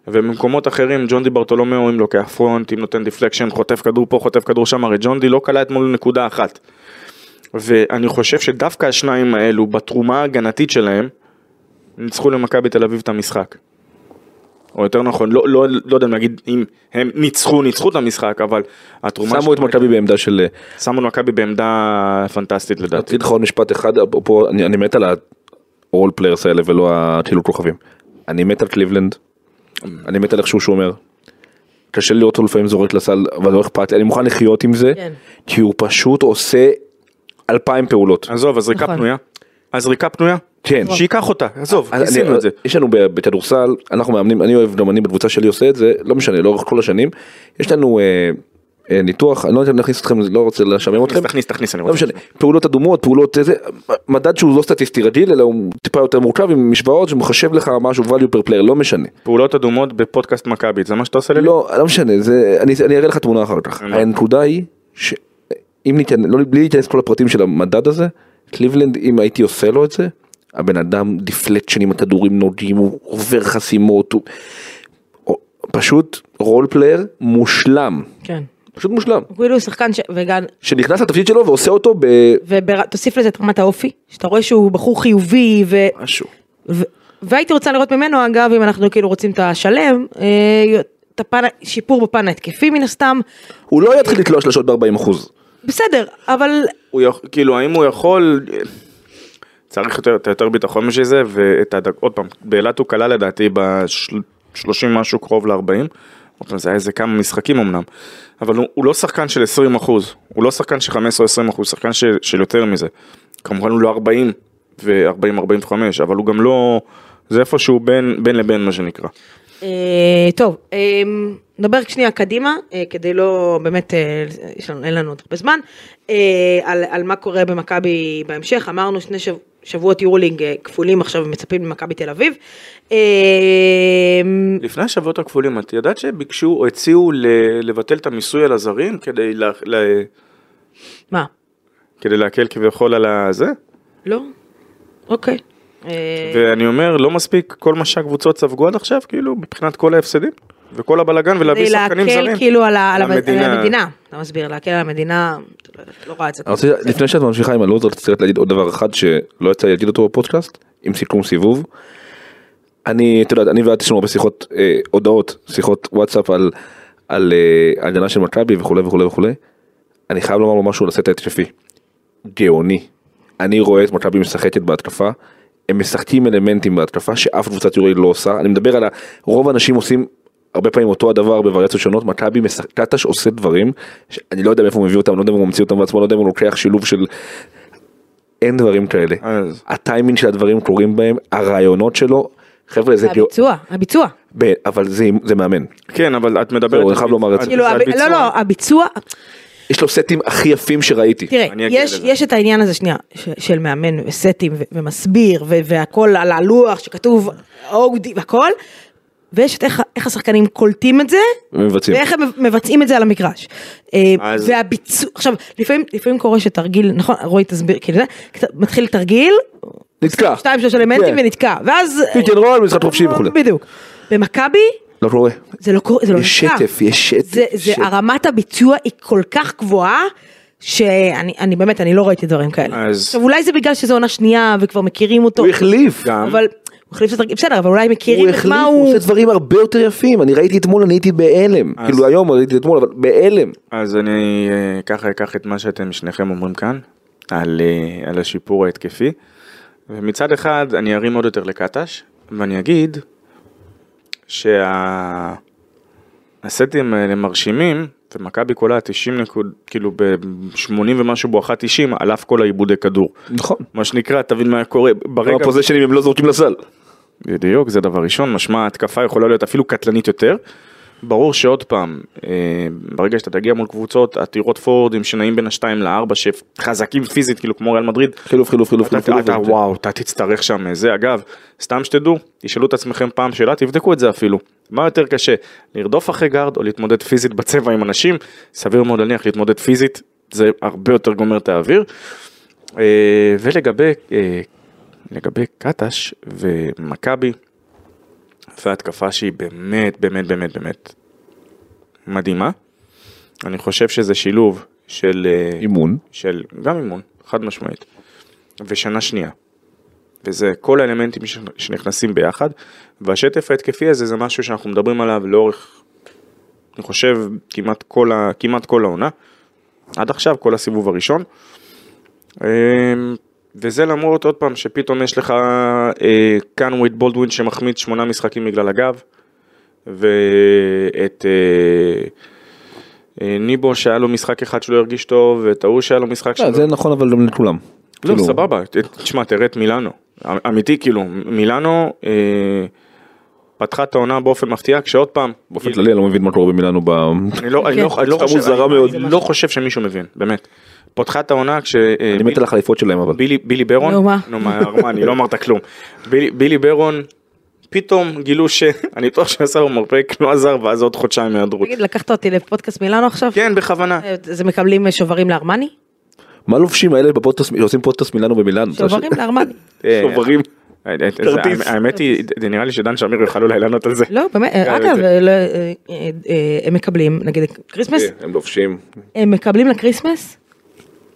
Speaker 3: ובמקומות אחרים, ג'ון די ברטולומיאו, אם לוקח פרונט, אם נותן דיפלקשן, חוטף כדור פה, חוטף כדור שם, הרי ג'ון די לא כלה אתמול נקודה אחת. ואני חושב שדווקא השניים האלו, בתרומה ההגנתית שלהם, ניצחו למכבי תל אביב את המשחק. או יותר נכון, לא, לא, לא יודע אם להגיד אם הם ניצחו, ניצחו את המשחק, אבל התרומה
Speaker 4: שמו את
Speaker 3: שלהם-
Speaker 4: מכבי בעמדה של... אה,
Speaker 3: שמו את מכבי בעמדה פנטסטית לדעתי.
Speaker 4: אגיד לך עוד משפט אחד, אפרופו, אני אני מת על ה-all players האלה ולא הכאילו כוכבים. אני מת על קליבלנד, אני מת על איך שהוא שומר. קשה לי לראות אותו לפעמים זורק לסל, אבל לא אכפת לי, אני מוכן לחיות עם זה,
Speaker 2: כן.
Speaker 4: כי הוא פשוט עושה אלפיים פעולות.
Speaker 3: עזוב, הזריקה
Speaker 2: נכון.
Speaker 3: פנויה. הזריקה פנויה? נכון.
Speaker 4: כן.
Speaker 3: שייקח אותה, עזוב,
Speaker 4: אה, אני-
Speaker 3: עשינו את זה.
Speaker 4: יש לנו ב- בכדורסל, אנחנו מאמנים, אני אוהב, גם אני בקבוצה שלי עושה את זה, לא משנה, לאורך כל השנים. יש לנו אה, אה, ניתוח, אני לא יודע אם להכניס אתכם, לא רוצה לשעמם אתכם.
Speaker 3: תכניס, תכניס, אני
Speaker 4: לא
Speaker 3: רוצה.
Speaker 4: משנה, פעולות אדומות, פעולות איזה, מדד שהוא לא סטטיסטי רגיל, אלא הוא טיפה יותר מורכב עם משוואות שמחשב לך משהו value per player, לא משנה.
Speaker 3: פעולות אדומות בפודקאסט מכבי, זה מה שאתה עושה לי?
Speaker 4: לא, לא משנה, זה, אני, אני אראה לך תמונה אחר כך.
Speaker 3: אין בעיה.
Speaker 4: הנקודה היא, ש- אם ניתן, לא, בלי להיכנס כל הפרטים של המדד הזה, קליבלנד, אם הייתי עושה לו את זה, הבן אדם דיפלקשן עם הכדורים נוגעים, הוא עובר חסימות, הוא... הוא- פשוט רול פלייר מושלם,
Speaker 2: כן.
Speaker 4: פשוט מושלם,
Speaker 2: הוא כאילו שחקן ש... וגם...
Speaker 4: שנכנס לתפקיד שלו ועושה אותו ב...
Speaker 2: ותוסיף לזה את רמת האופי, שאתה רואה שהוא בחור חיובי, ו...
Speaker 4: משהו.
Speaker 2: ו... והייתי רוצה לראות ממנו, אגב, אם אנחנו כאילו רוצים את השלם, אה, את הפן, שיפור בפן ההתקפי מן הסתם,
Speaker 4: הוא לא יתחיל לתלוע שלשות ב-40%.
Speaker 2: בסדר, אבל
Speaker 3: הוא יכול, כאילו האם הוא יכול, צריך יותר, יותר- יותר ביטחון בשביל זה, ואת הדק, עוד פעם, באילת הוא כלל לדעתי ב-30 משהו קרוב ל-40, עוד פעם זה היה איזה כמה משחקים אמנם, אבל הוא, הוא לא שחקן של 20 אחוז, הוא לא שחקן של 15 או 20 אחוז, הוא שחקן של, של יותר מזה, כמובן הוא לא 40 ו-40-45, אבל הוא גם לא, זה איפשהו בין, בין לבין מה שנקרא.
Speaker 2: אה, טוב, אה, נדבר שנייה קדימה, אה, כדי לא, באמת, אה, יש לנו, אין לנו עוד הרבה זמן, אה, על, על מה קורה במכבי בהמשך, אמרנו שני שב, שבועות יורלינג אה, כפולים עכשיו מצפים ממכבי תל אביב. אה,
Speaker 3: לפני השבועות הכפולים, את ידעת שביקשו או הציעו ל- לבטל את המיסוי על הזרים כדי, לה, לה,
Speaker 2: מה?
Speaker 3: כדי להקל כביכול על הזה?
Speaker 2: לא? אוקיי. אה,
Speaker 3: ואני אומר, לא מספיק כל מה שהקבוצות ספגו עד עכשיו, כאילו, מבחינת כל ההפסדים, וכל הבלגן, ולהביא
Speaker 2: כדי
Speaker 3: שחקנים זרים.
Speaker 2: להקל כאילו על, ה- על, המדינה.
Speaker 3: המדינה.
Speaker 2: על המדינה, אתה מסביר, להקל על המדינה, לא יודעת, לא רואה את זה.
Speaker 4: אני רוצה, לפני שאת ממשיכה עם הלוזר, רציתי רק להגיד עוד דבר אחד שלא יצא לי להגיד אותו בפודקאסט, עם סיכום סיבוב. אני, אתה יודע, אני ואת יש לנו הרבה שיחות, אה, הודעות, שיחות וואטסאפ על, על אה, הגנה של מכבי וכולי וכולי וכולי. אני חייב לומר לו משהו על הסט ההתקפי. גאוני. אני רואה את מכבי משחקת בהתקפה. הם משחקים אלמנטים בהתקפה שאף קבוצת יורי לא עושה. אני מדבר על ה... רוב האנשים עושים הרבה פעמים אותו הדבר בווריאציות שונות. מכבי משחק... קטש עושה דברים שאני לא יודע מאיפה הוא מביא אותם, לא יודע אם הוא ממציא אותם בעצמו, לא יודע אם הוא לוקח שילוב של... אין דברים כאלה.
Speaker 3: אז-
Speaker 4: הטיימינג של הדברים קורים בהם, הרעיונות שלו. חבר'ה זה... גאו-
Speaker 2: הביצוע, הביצוע.
Speaker 4: ב- אבל זה, זה מאמן.
Speaker 3: כן, אבל את מדברת...
Speaker 4: זהו,
Speaker 3: על
Speaker 4: אני חייב
Speaker 3: ביצ-
Speaker 4: לומר את
Speaker 3: על-
Speaker 4: זה.
Speaker 2: כאילו,
Speaker 3: על
Speaker 2: הב-
Speaker 3: ביצוע.
Speaker 2: לא, לא, הביצוע,
Speaker 4: יש לו סטים הכי יפים שראיתי.
Speaker 2: תראה,
Speaker 3: אני אגיע
Speaker 2: יש,
Speaker 3: לזה.
Speaker 2: יש את העניין הזה שנייה, ש, של מאמן וסטים ו- ומסביר ו- והכל על הלוח שכתוב אודי והכל, ויש את איך, איך השחקנים קולטים את זה,
Speaker 4: ומבצעים.
Speaker 2: ואיך הם מבצעים את זה על המגרש. אה,
Speaker 3: אז-
Speaker 2: והביצוע, עכשיו, לפעמים, לפעמים קורה שתרגיל, נכון, רועי תסביר, כאילו, קצת- מתחיל תרגיל,
Speaker 4: נתקע.
Speaker 2: שתיים שלוש לא, אלמנטים
Speaker 4: כן.
Speaker 2: ונתקע, ואז...
Speaker 4: פיק אנד רול, משחק חופשי וכולי.
Speaker 2: בדיוק. במכבי,
Speaker 4: לא קורה.
Speaker 2: זה לא קורה, זה לא
Speaker 4: יש
Speaker 2: נתקע.
Speaker 4: שטף, יש שטף,
Speaker 2: זה, זה
Speaker 4: שטף.
Speaker 2: הרמת הביצוע היא כל כך גבוהה, שאני אני באמת, אני לא ראיתי דברים כאלה.
Speaker 3: אז-
Speaker 2: עכשיו אולי זה בגלל שזו עונה שנייה וכבר מכירים אותו.
Speaker 4: הוא החליף.
Speaker 3: גם.
Speaker 2: אבל, הוא החליף את התרגיל, בסדר, אבל אולי
Speaker 4: הוא
Speaker 2: מכירים את
Speaker 4: החליף,
Speaker 2: מה
Speaker 4: הוא
Speaker 2: הוא...
Speaker 4: עושה דברים הרבה יותר יפים. אני ראיתי אתמול, אני הייתי בהלם.
Speaker 3: אז-
Speaker 4: כאילו היום ראיתי אתמול, אבל בהלם.
Speaker 3: אז אני אה, ככה אקח את מה שאתם שניכם אומרים כאן, על, אה, על השיפור ההתקפי. ומצד אחד, אני ארים עוד יותר לקטש, ואני אגיד שהסטים האלה מרשימים, ומכבי קולה 90 נקוד, כאילו ב-80 ומשהו בואכה 90, על אף כל העיבודי כדור.
Speaker 4: נכון.
Speaker 3: מה שנקרא, תבין מה קורה, ברגע...
Speaker 4: הפוזיישנים הם לא זורקים לסל.
Speaker 3: בדיוק, זה דבר ראשון, משמע ההתקפה יכולה להיות אפילו קטלנית יותר. ברור שעוד פעם, אה, ברגע שאתה תגיע מול קבוצות עתירות פורורדים שנעים בין השתיים לארבע, שחזקים פיזית, כאילו כמו ריאל מדריד,
Speaker 4: חילוף, חילוף, חילוף,
Speaker 3: אתה,
Speaker 4: חילוף.
Speaker 3: אתה,
Speaker 4: חילוף.
Speaker 3: אתה וואו, אתה תצטרך שם אה, זה. אגב, סתם שתדעו, תשאלו את עצמכם פעם שאלה, תבדקו את זה אפילו. מה יותר קשה, לרדוף אחרי גארד או להתמודד פיזית בצבע עם אנשים? סביר מאוד להניח להתמודד פיזית, זה הרבה יותר גומר את האוויר. אה, ולגבי אה, לגבי קטש ומכבי, והתקפה שהיא באמת באמת באמת באמת מדהימה. אני חושב שזה שילוב של אה,
Speaker 4: אימון.
Speaker 3: של גם אימון, חד משמעית, ושנה שנייה. וזה כל האלמנטים ש- שנכנסים ביחד, והשטף ההתקפי הזה זה משהו שאנחנו מדברים עליו לאורך, אני חושב, כמעט כל, ה, כמעט כל העונה, עד עכשיו, כל הסיבוב הראשון. אמ, וזה למרות, עוד פעם, שפתאום יש לך אה, קנוויד בולדווין שמחמיץ שמונה משחקים בגלל הגב, ואת... אה, אה, ניבו שהיה לו משחק אחד שלא הרגיש טוב, ואת ההוא שהיה לו משחק
Speaker 4: לא,
Speaker 3: שלא...
Speaker 4: זה נכון אבל גם לכולם.
Speaker 3: לא,
Speaker 4: כאילו,
Speaker 3: סבבה, ת- תשמע, תראה את מילאנו. אמיתי, כאילו, מילאנו אה, פתחה את העונה באופן מפתיע, כשעוד פעם... כאילו,
Speaker 4: באופן כללי אני לא מבין מה קורה במילאנו ב...
Speaker 3: אני לא, אני
Speaker 2: כן.
Speaker 3: לא, אני לא
Speaker 4: חמוד
Speaker 3: חושב,
Speaker 4: זרה
Speaker 3: אני-
Speaker 4: מאוד.
Speaker 3: אני לא חושב שמישהו מבין, באמת. פותחה את העונה כש... אה,
Speaker 4: אני מת על החליפות שלהם אבל.
Speaker 3: בילי, בילי ברון,
Speaker 2: נו, מה?
Speaker 3: נו מה, ארמני, לא אמרת כלום. בילי, בילי ברון, פתאום גילו ש... אני בטוח שעשה לו מרפק, לא עזר, ואז עוד חודשיים היעדרות.
Speaker 2: תגיד, לקחת אותי לפודקאסט מילאנו עכשיו?
Speaker 3: כן, בכוונה.
Speaker 2: אה, זה מקבלים שוברים לארמני?
Speaker 4: מה לובשים האלה בפודקאסט, עושים פודקאסט מילאנו במילאנו?
Speaker 2: שוברים לארמני.
Speaker 3: אה,
Speaker 4: שוברים.
Speaker 3: אה, אה, זה-
Speaker 4: כרטיס.
Speaker 3: האמת היא, זה נראה לי שדן שמיר יוכל אולי לענות על זה.
Speaker 2: לא, באמת, אה,
Speaker 3: אה,
Speaker 2: אגב,
Speaker 3: זה-
Speaker 2: אה, לא, אה,
Speaker 4: כן.
Speaker 2: אה, אה, הם מקבלים, נגיד, כריסמס,
Speaker 4: הם לובשים.
Speaker 2: הם מקבלים לקריסמס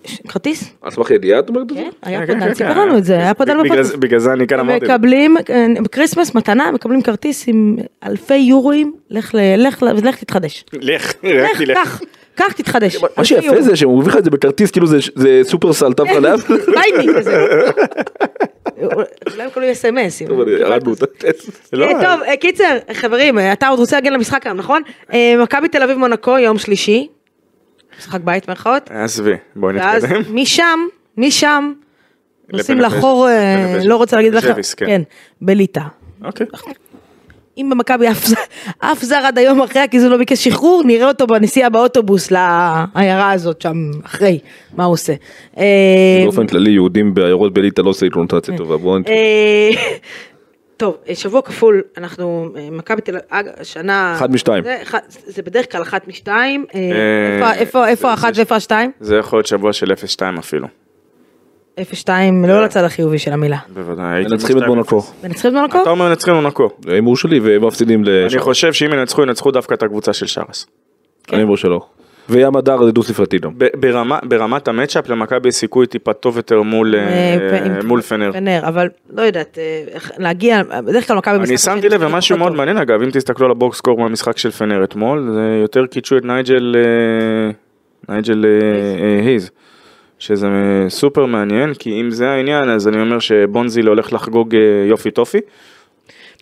Speaker 2: ש- כרטיס?
Speaker 4: על סמך ידיעה את אומרת את זה?
Speaker 2: כן, היה פה דן, סיפר לנו את זה, היה פה דן
Speaker 3: בגלל
Speaker 2: בפודקאסט.
Speaker 3: זה- בגלל זה אני כאן אמרתי,
Speaker 2: מקבלים, אה, בקריסמס מתנה, מקבלים כרטיס עם אלפי יורואים, לך ל- לך ל- לך תתחדש.
Speaker 3: לך,
Speaker 2: לך,
Speaker 3: לך, לך.
Speaker 2: קח, קח תתחדש.
Speaker 4: מה
Speaker 2: אלפי
Speaker 4: שיפה
Speaker 2: יורו.
Speaker 4: זה לא שהם מביאים לך את זה בכרטיס כאילו זה- זה סופרסל תו חלב.
Speaker 2: ליימי כזה. אולי הם קוראים אס.אם.אס.
Speaker 4: טוב, אני- ירדנו אותה.
Speaker 3: לא
Speaker 2: טוב, אה, קיצר, חברים, אה, אתה עוד רוצה להגן למשחק היום, נכון? אה, מכבי תל אביב מונקו, יום שלישי. משחק בית מירכאות.
Speaker 3: עזבי, בואי
Speaker 2: ואז
Speaker 3: נתקדם.
Speaker 2: משם, משם, נוסעים
Speaker 3: לבנפש,
Speaker 2: לחור, אה,
Speaker 3: לבנפש.
Speaker 2: לא רוצה להגיד לך,
Speaker 3: ז'ביס, כן.
Speaker 2: כן, בליטא.
Speaker 3: אוקיי.
Speaker 2: אם במכבי אף זר- אף זר עד היום אחרי הקיזון לא ביקש שחרור, נראה אותו בנסיעה באוטובוס לעיירה הזאת שם, אחרי, מה הוא עושה. אה,
Speaker 4: באופן כללי יהודים בעיירות בליטא לא עושה אינטונטציה טובה בואו נ-
Speaker 2: כן. אה, טוב, אה, שבוע כפול, אנחנו, אה, מכבי תל אביב, השנה...
Speaker 4: אחת משתיים.
Speaker 2: זה אחד- זה בדרך כלל אחת משתיים. אה,
Speaker 3: אה,
Speaker 2: איפה- איפה- איפה
Speaker 3: זה-
Speaker 2: האחת
Speaker 3: זה-
Speaker 2: ואיפה השתיים?
Speaker 3: זה יכול להיות שבוע של 0-2 אפילו.
Speaker 2: איפה שתיים,
Speaker 3: אה.
Speaker 2: לא לצד החיובי של המילה.
Speaker 3: בוודאי. הייתי
Speaker 4: מנצחים את
Speaker 3: אומר
Speaker 4: מונקו.
Speaker 2: מנצחים את מונקו?
Speaker 3: אתה אומר מנצחים מונקו.
Speaker 4: זה ההימור שלי והם מפסידים
Speaker 3: אני
Speaker 4: לשרס.
Speaker 3: חושב שאם ינצחו, ינצחו דווקא את הקבוצה של שרס.
Speaker 2: כן.
Speaker 4: ההימור שלו. וים הדר זה דו ספרתי גם.
Speaker 2: אה.
Speaker 3: ב- ברמה- ברמת המצ'אפ למכבי יש סיכוי טיפה טוב יותר מול אה,
Speaker 2: אה,
Speaker 3: מול פנר.
Speaker 2: פנר, אבל לא יודעת, אה, איך- להגיע, בדרך כלל מכבי
Speaker 3: אני שמתי לב למשהו מאוד מעניין אגב, אם תסתכלו על הבוקסקור מהמשחק של פנר אתמול, זה יותר קידשו את נייג'ל אה, נייג'ל אה, אה, הייז, שזה אה, סופר מעניין, כי אם זה העניין אז אני אומר שבונזיל הולך לחגוג אה, יופי טופי,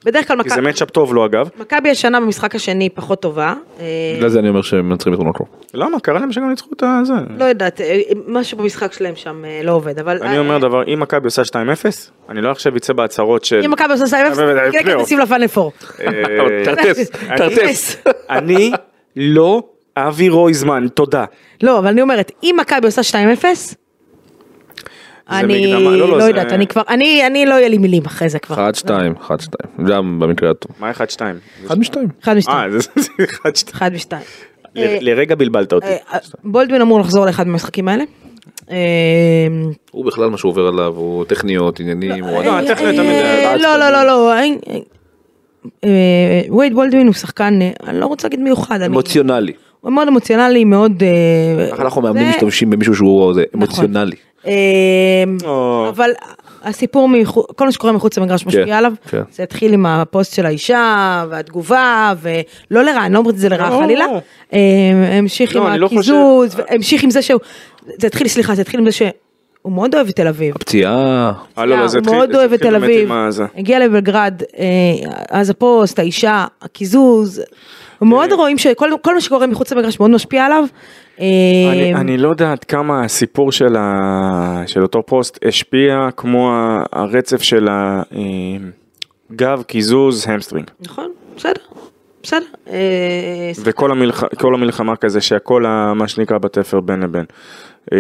Speaker 2: בדרך כלל
Speaker 3: כי זה
Speaker 2: מכבי-
Speaker 3: מצ'אפ טוב לו אגב,
Speaker 2: מכבי השנה במשחק השני פחות טובה. אה,
Speaker 4: בגלל זה אני אומר שהם מנצחים את מונקו.
Speaker 3: למה? קרה להם שגם ניצחו את הזה.
Speaker 2: לא יודעת, אה, משהו במשחק שלהם שם אה, לא עובד, אבל...
Speaker 3: אני אומר דבר, אם מכבי עושה 2-0, אני לא עכשיו אצא בהצהרות של...
Speaker 2: אם מכבי עושה סייבס,
Speaker 3: אבל- אבל-
Speaker 2: כן, כן,
Speaker 3: אה, פלייאוף.
Speaker 2: תשים לפאנל פור.
Speaker 3: אה,
Speaker 4: תרטס,
Speaker 2: אני-
Speaker 4: תרטס.
Speaker 3: אני לא אבי רויזמן, תודה.
Speaker 2: לא, אבל אני אומרת, אם מכבי עושה 2-0, אני
Speaker 3: מקדמה, לא, לא,
Speaker 2: לא
Speaker 3: זה-
Speaker 2: יודעת, אני כבר, אני, אני לא יהיה לי מילים אחרי זה כבר.
Speaker 4: אחד שתיים, אחד שתיים. גם במקרה הטוב.
Speaker 3: מה 1-2?
Speaker 4: אחד משתיים.
Speaker 2: אחד משתיים.
Speaker 3: אה, זה זה 1-2.
Speaker 2: אחד משתיים.
Speaker 3: ל- לרגע בלבלת אותי.
Speaker 2: אה, אה, בולדווין אמור לחזור לאחד מהמשחקים האלה. אה,
Speaker 4: הוא בכלל מה שהוא עובר עליו הוא טכניות עניינים. הוא
Speaker 3: לא,
Speaker 4: עדיין-
Speaker 3: הטכניות תמיד-
Speaker 2: אה,
Speaker 4: רץ
Speaker 2: לא, לא, לא, לא. אה, אה, וייד בולדווין הוא שחקן, אה, אני לא רוצה להגיד מיוחד, אני-
Speaker 4: אמוציונלי.
Speaker 2: הוא מאוד אמוציונלי, מאוד... אה,
Speaker 4: ככה אנחנו מאמנים
Speaker 2: זה- נכון.
Speaker 4: משתמשים במישהו שהוא זה, אמוציונלי.
Speaker 2: אה,
Speaker 3: או.
Speaker 2: אבל הסיפור, מחו- כל מה שקורה מחוץ למגרש
Speaker 4: כן,
Speaker 2: משפיע עליו,
Speaker 4: כן.
Speaker 2: זה התחיל עם הפוסט של האישה והתגובה, ולא לרע, אני לא אומרת את זה לרעה
Speaker 3: לא.
Speaker 2: חלילה, אה, המשיך עם
Speaker 3: לא, אני לא
Speaker 2: הקיזוז, המשיך עם זה שהוא, זה התחיל, סליחה, זה התחיל עם זה שהוא מאוד אוהב את תל אביב.
Speaker 4: הפציעה.
Speaker 3: אה, לא, לא, זה
Speaker 2: הוא
Speaker 3: התחיל-
Speaker 2: מאוד
Speaker 3: זה
Speaker 2: אוהב את
Speaker 3: התחיל
Speaker 2: תל
Speaker 3: באמת
Speaker 2: אביב,
Speaker 3: עם הזה.
Speaker 2: הגיע לבלגרד, אה, אז הפוסט, האישה, הקיזוז,
Speaker 3: אה.
Speaker 2: מאוד רואים שכל כל מה שקורה מחוץ למגרש מאוד משפיע עליו. אה,
Speaker 3: אני- אני לא יודע עד כמה הסיפור של ה- של אותו פוסט השפיע כמו ה- הרצף של הגב, קיזוז, המסטרינג.
Speaker 2: נכון, בסדר, בסדר. אה,
Speaker 3: וכל המלח... כל המלחמה כזה שהכל ה- מה שנקרא בתפר בין לבין. אה,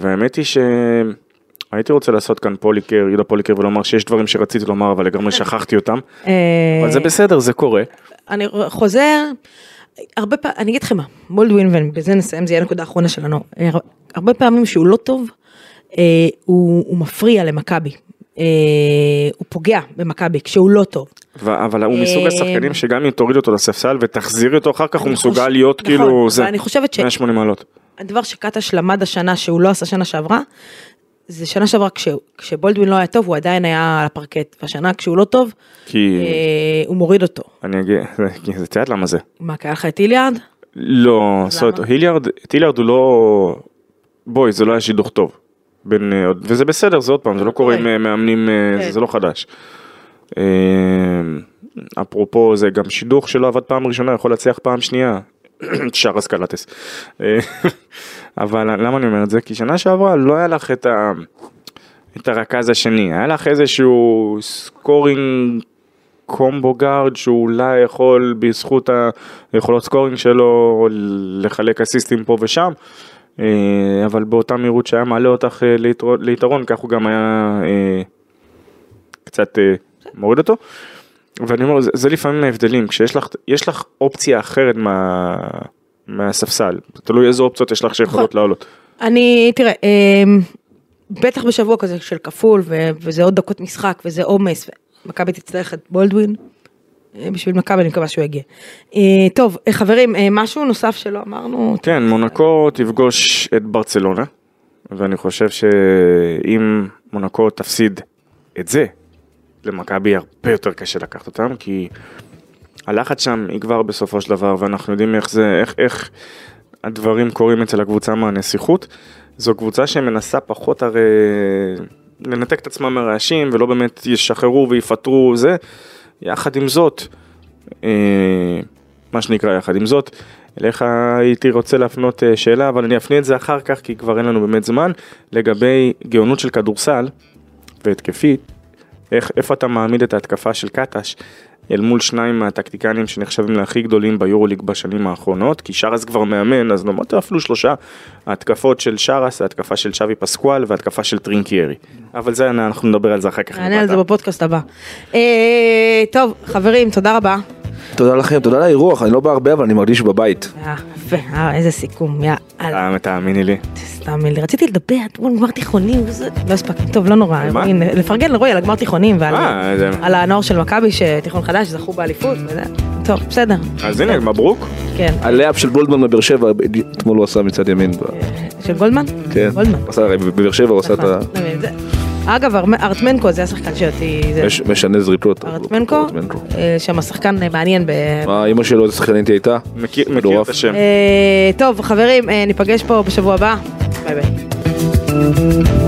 Speaker 3: והאמת היא שהייתי רוצה לעשות כאן פוליקר, יהודה פוליקר ולומר שיש דברים שרציתי לומר אבל לגמרי שכחתי אותם.
Speaker 2: כן. אה,
Speaker 3: אבל זה בסדר זה קורה.
Speaker 2: אני חוזר, הרבה פעמים, אני אגיד לכם מה, בולדווין, ובזה נסיים, זה יהיה הנקודה האחרונה שלנו, אה, הרבה פעמים שהוא לא טוב, אה, הוא, הוא מפריע למכבי, אה, הוא פוגע במכבי כשהוא לא טוב.
Speaker 3: ו- אבל הוא מסוג
Speaker 2: אה,
Speaker 3: השחקנים שגם אם תוריד אותו לספסל ותחזירי אותו אחר כך הוא
Speaker 2: אני
Speaker 3: מסוגל
Speaker 2: חוש-
Speaker 3: להיות
Speaker 2: נכון,
Speaker 3: כאילו
Speaker 2: אבל
Speaker 3: זה
Speaker 2: אני חושבת ש-
Speaker 3: 180 מעלות.
Speaker 2: הדבר שקטש למד השנה שהוא לא עשה שנה שעברה, זה שנה שעברה כש, כשבולדווין לא היה טוב הוא עדיין היה על הפרקט, והשנה כשהוא לא טוב,
Speaker 3: כי
Speaker 2: אה, הוא מוריד אותו.
Speaker 3: אני אגיד, כי זה את יודעת למה זה.
Speaker 2: מה, כי היה לך את איליארד?
Speaker 3: לא, זאת אומרת,
Speaker 2: למה?
Speaker 3: היליארד, את היליארד הוא לא... בואי, זה לא היה שידוך טוב. בין, אה, עוד- וזה בסדר, זה עוד פעם, זה לא קורה עם
Speaker 2: קורה.
Speaker 3: אה, מאמנים, אה,
Speaker 2: כן.
Speaker 3: זה לא חדש. אה, אפרופו זה גם שידוך שלא עבד פעם ראשונה יכול להצליח פעם שנייה. שרס קלטס. אה, אבל למה אני אומר את זה? כי שנה שעברה לא היה לך את, ה... את הרכז השני, היה לך איזשהו סקורינג קומבו גארד שאולי יכול בזכות היכולות סקורינג שלו לחלק אסיסטים פה ושם. אה, אבל באותה מהירות שהיה מעלה אותך אה, ליתרו- ליתרון כך הוא גם היה אה, קצת אה, מוריד אותו. ואני אומר זה, זה לפעמים ההבדלים כשיש לך יש לך אופציה אחרת מה, מהספסל תלוי איזה אופציות יש לך שיכולות לעלות.
Speaker 2: אני, תראה, אמ, בטח בשבוע כזה של כפול, ו- וזה עוד דקות משחק, וזה עומס, ומכבי תצטרך את בולדווין. אה, בשביל מכבי אני מקווה שהוא יגיע. אה, טוב, אה, חברים, אה, משהו נוסף שלא אמרנו,
Speaker 3: כן מונקו תפגוש את ברצלונה ואני חושב שאם מונקו תפסיד את זה, למכבי הרבה יותר קשה לקחת אותם, כי הלחץ שם יגבר בסופו של דבר, ואנחנו יודעים איך זה, איך, איך הדברים קורים אצל הקבוצה מהנסיכות. זו קבוצה שמנסה פחות הרי לנתק את עצמה מרעשים, ולא באמת ישחררו ויפטרו זה. יחד עם זאת, אה, מה שנקרא יחד עם זאת, אליך הייתי רוצה להפנות אה, שאלה, אבל אני אפנה את זה אחר כך, כי כבר אין לנו באמת זמן, לגבי גאונות של כדורסל והתקפית, איך, איפה אתה מעמיד את ההתקפה של קטש אל מול שניים מהטקטיקנים שנחשבים להכי גדולים ביורוליג בשנים האחרונות, כי שרס כבר מאמן, אז נאמרת אפילו שלושה, ההתקפות של שרס, ההתקפה של שווי פסקואל וההתקפה של טרינקיירי. אבל זה, אנחנו נדבר על זה אחר כך.
Speaker 2: נענה על זה
Speaker 3: למטה.
Speaker 2: בפודקאסט הבא. אה, טוב, חברים, תודה רבה.
Speaker 4: תודה לכם, תודה על האירוח, אני לא בא הרבה אבל אני מרגיש בבית.
Speaker 2: אה, יפה, אה, איזה סיכום, יאללה,
Speaker 3: אה, תאמיני לי.
Speaker 2: סתם לי. רציתי לדבר, אתמול גמר תיכונים, וזה- לא הספקתי, טוב, לא נורא,
Speaker 3: מה?
Speaker 2: הנה, לפרגן לרועי על הגמר תיכונים ועל
Speaker 3: אה, זה-
Speaker 2: על הנוער של מכבי, שתיכון חדש, זכו באליפות, וזה- טוב, בסדר,
Speaker 3: אז הנה, מברוק.
Speaker 2: כן.
Speaker 4: הלאפ של גולדמן בבאר שבע, אתמול הוא עשה מצד ימין. ב-
Speaker 2: של גולדמן?
Speaker 4: כן,
Speaker 2: אה. גולדמן.
Speaker 4: הוא עשה, הרי בבאר שבע הוא עשה את ה...
Speaker 2: נכון, זה- אגב, ארמ- ארטמנקו זה השחקן שאותי, זה-
Speaker 4: מש- משנה זריפות.
Speaker 2: ארטמנקו, אה, שם השחקן אה, מעניין ב-
Speaker 4: מה, אימא שלו איזה שחקנית היא הייתה?
Speaker 3: מכיר מכיר
Speaker 4: מטורף.
Speaker 3: את השם.
Speaker 2: אה, טוב, חברים, אה, ניפגש פה בשבוע הבא. ביי ביי.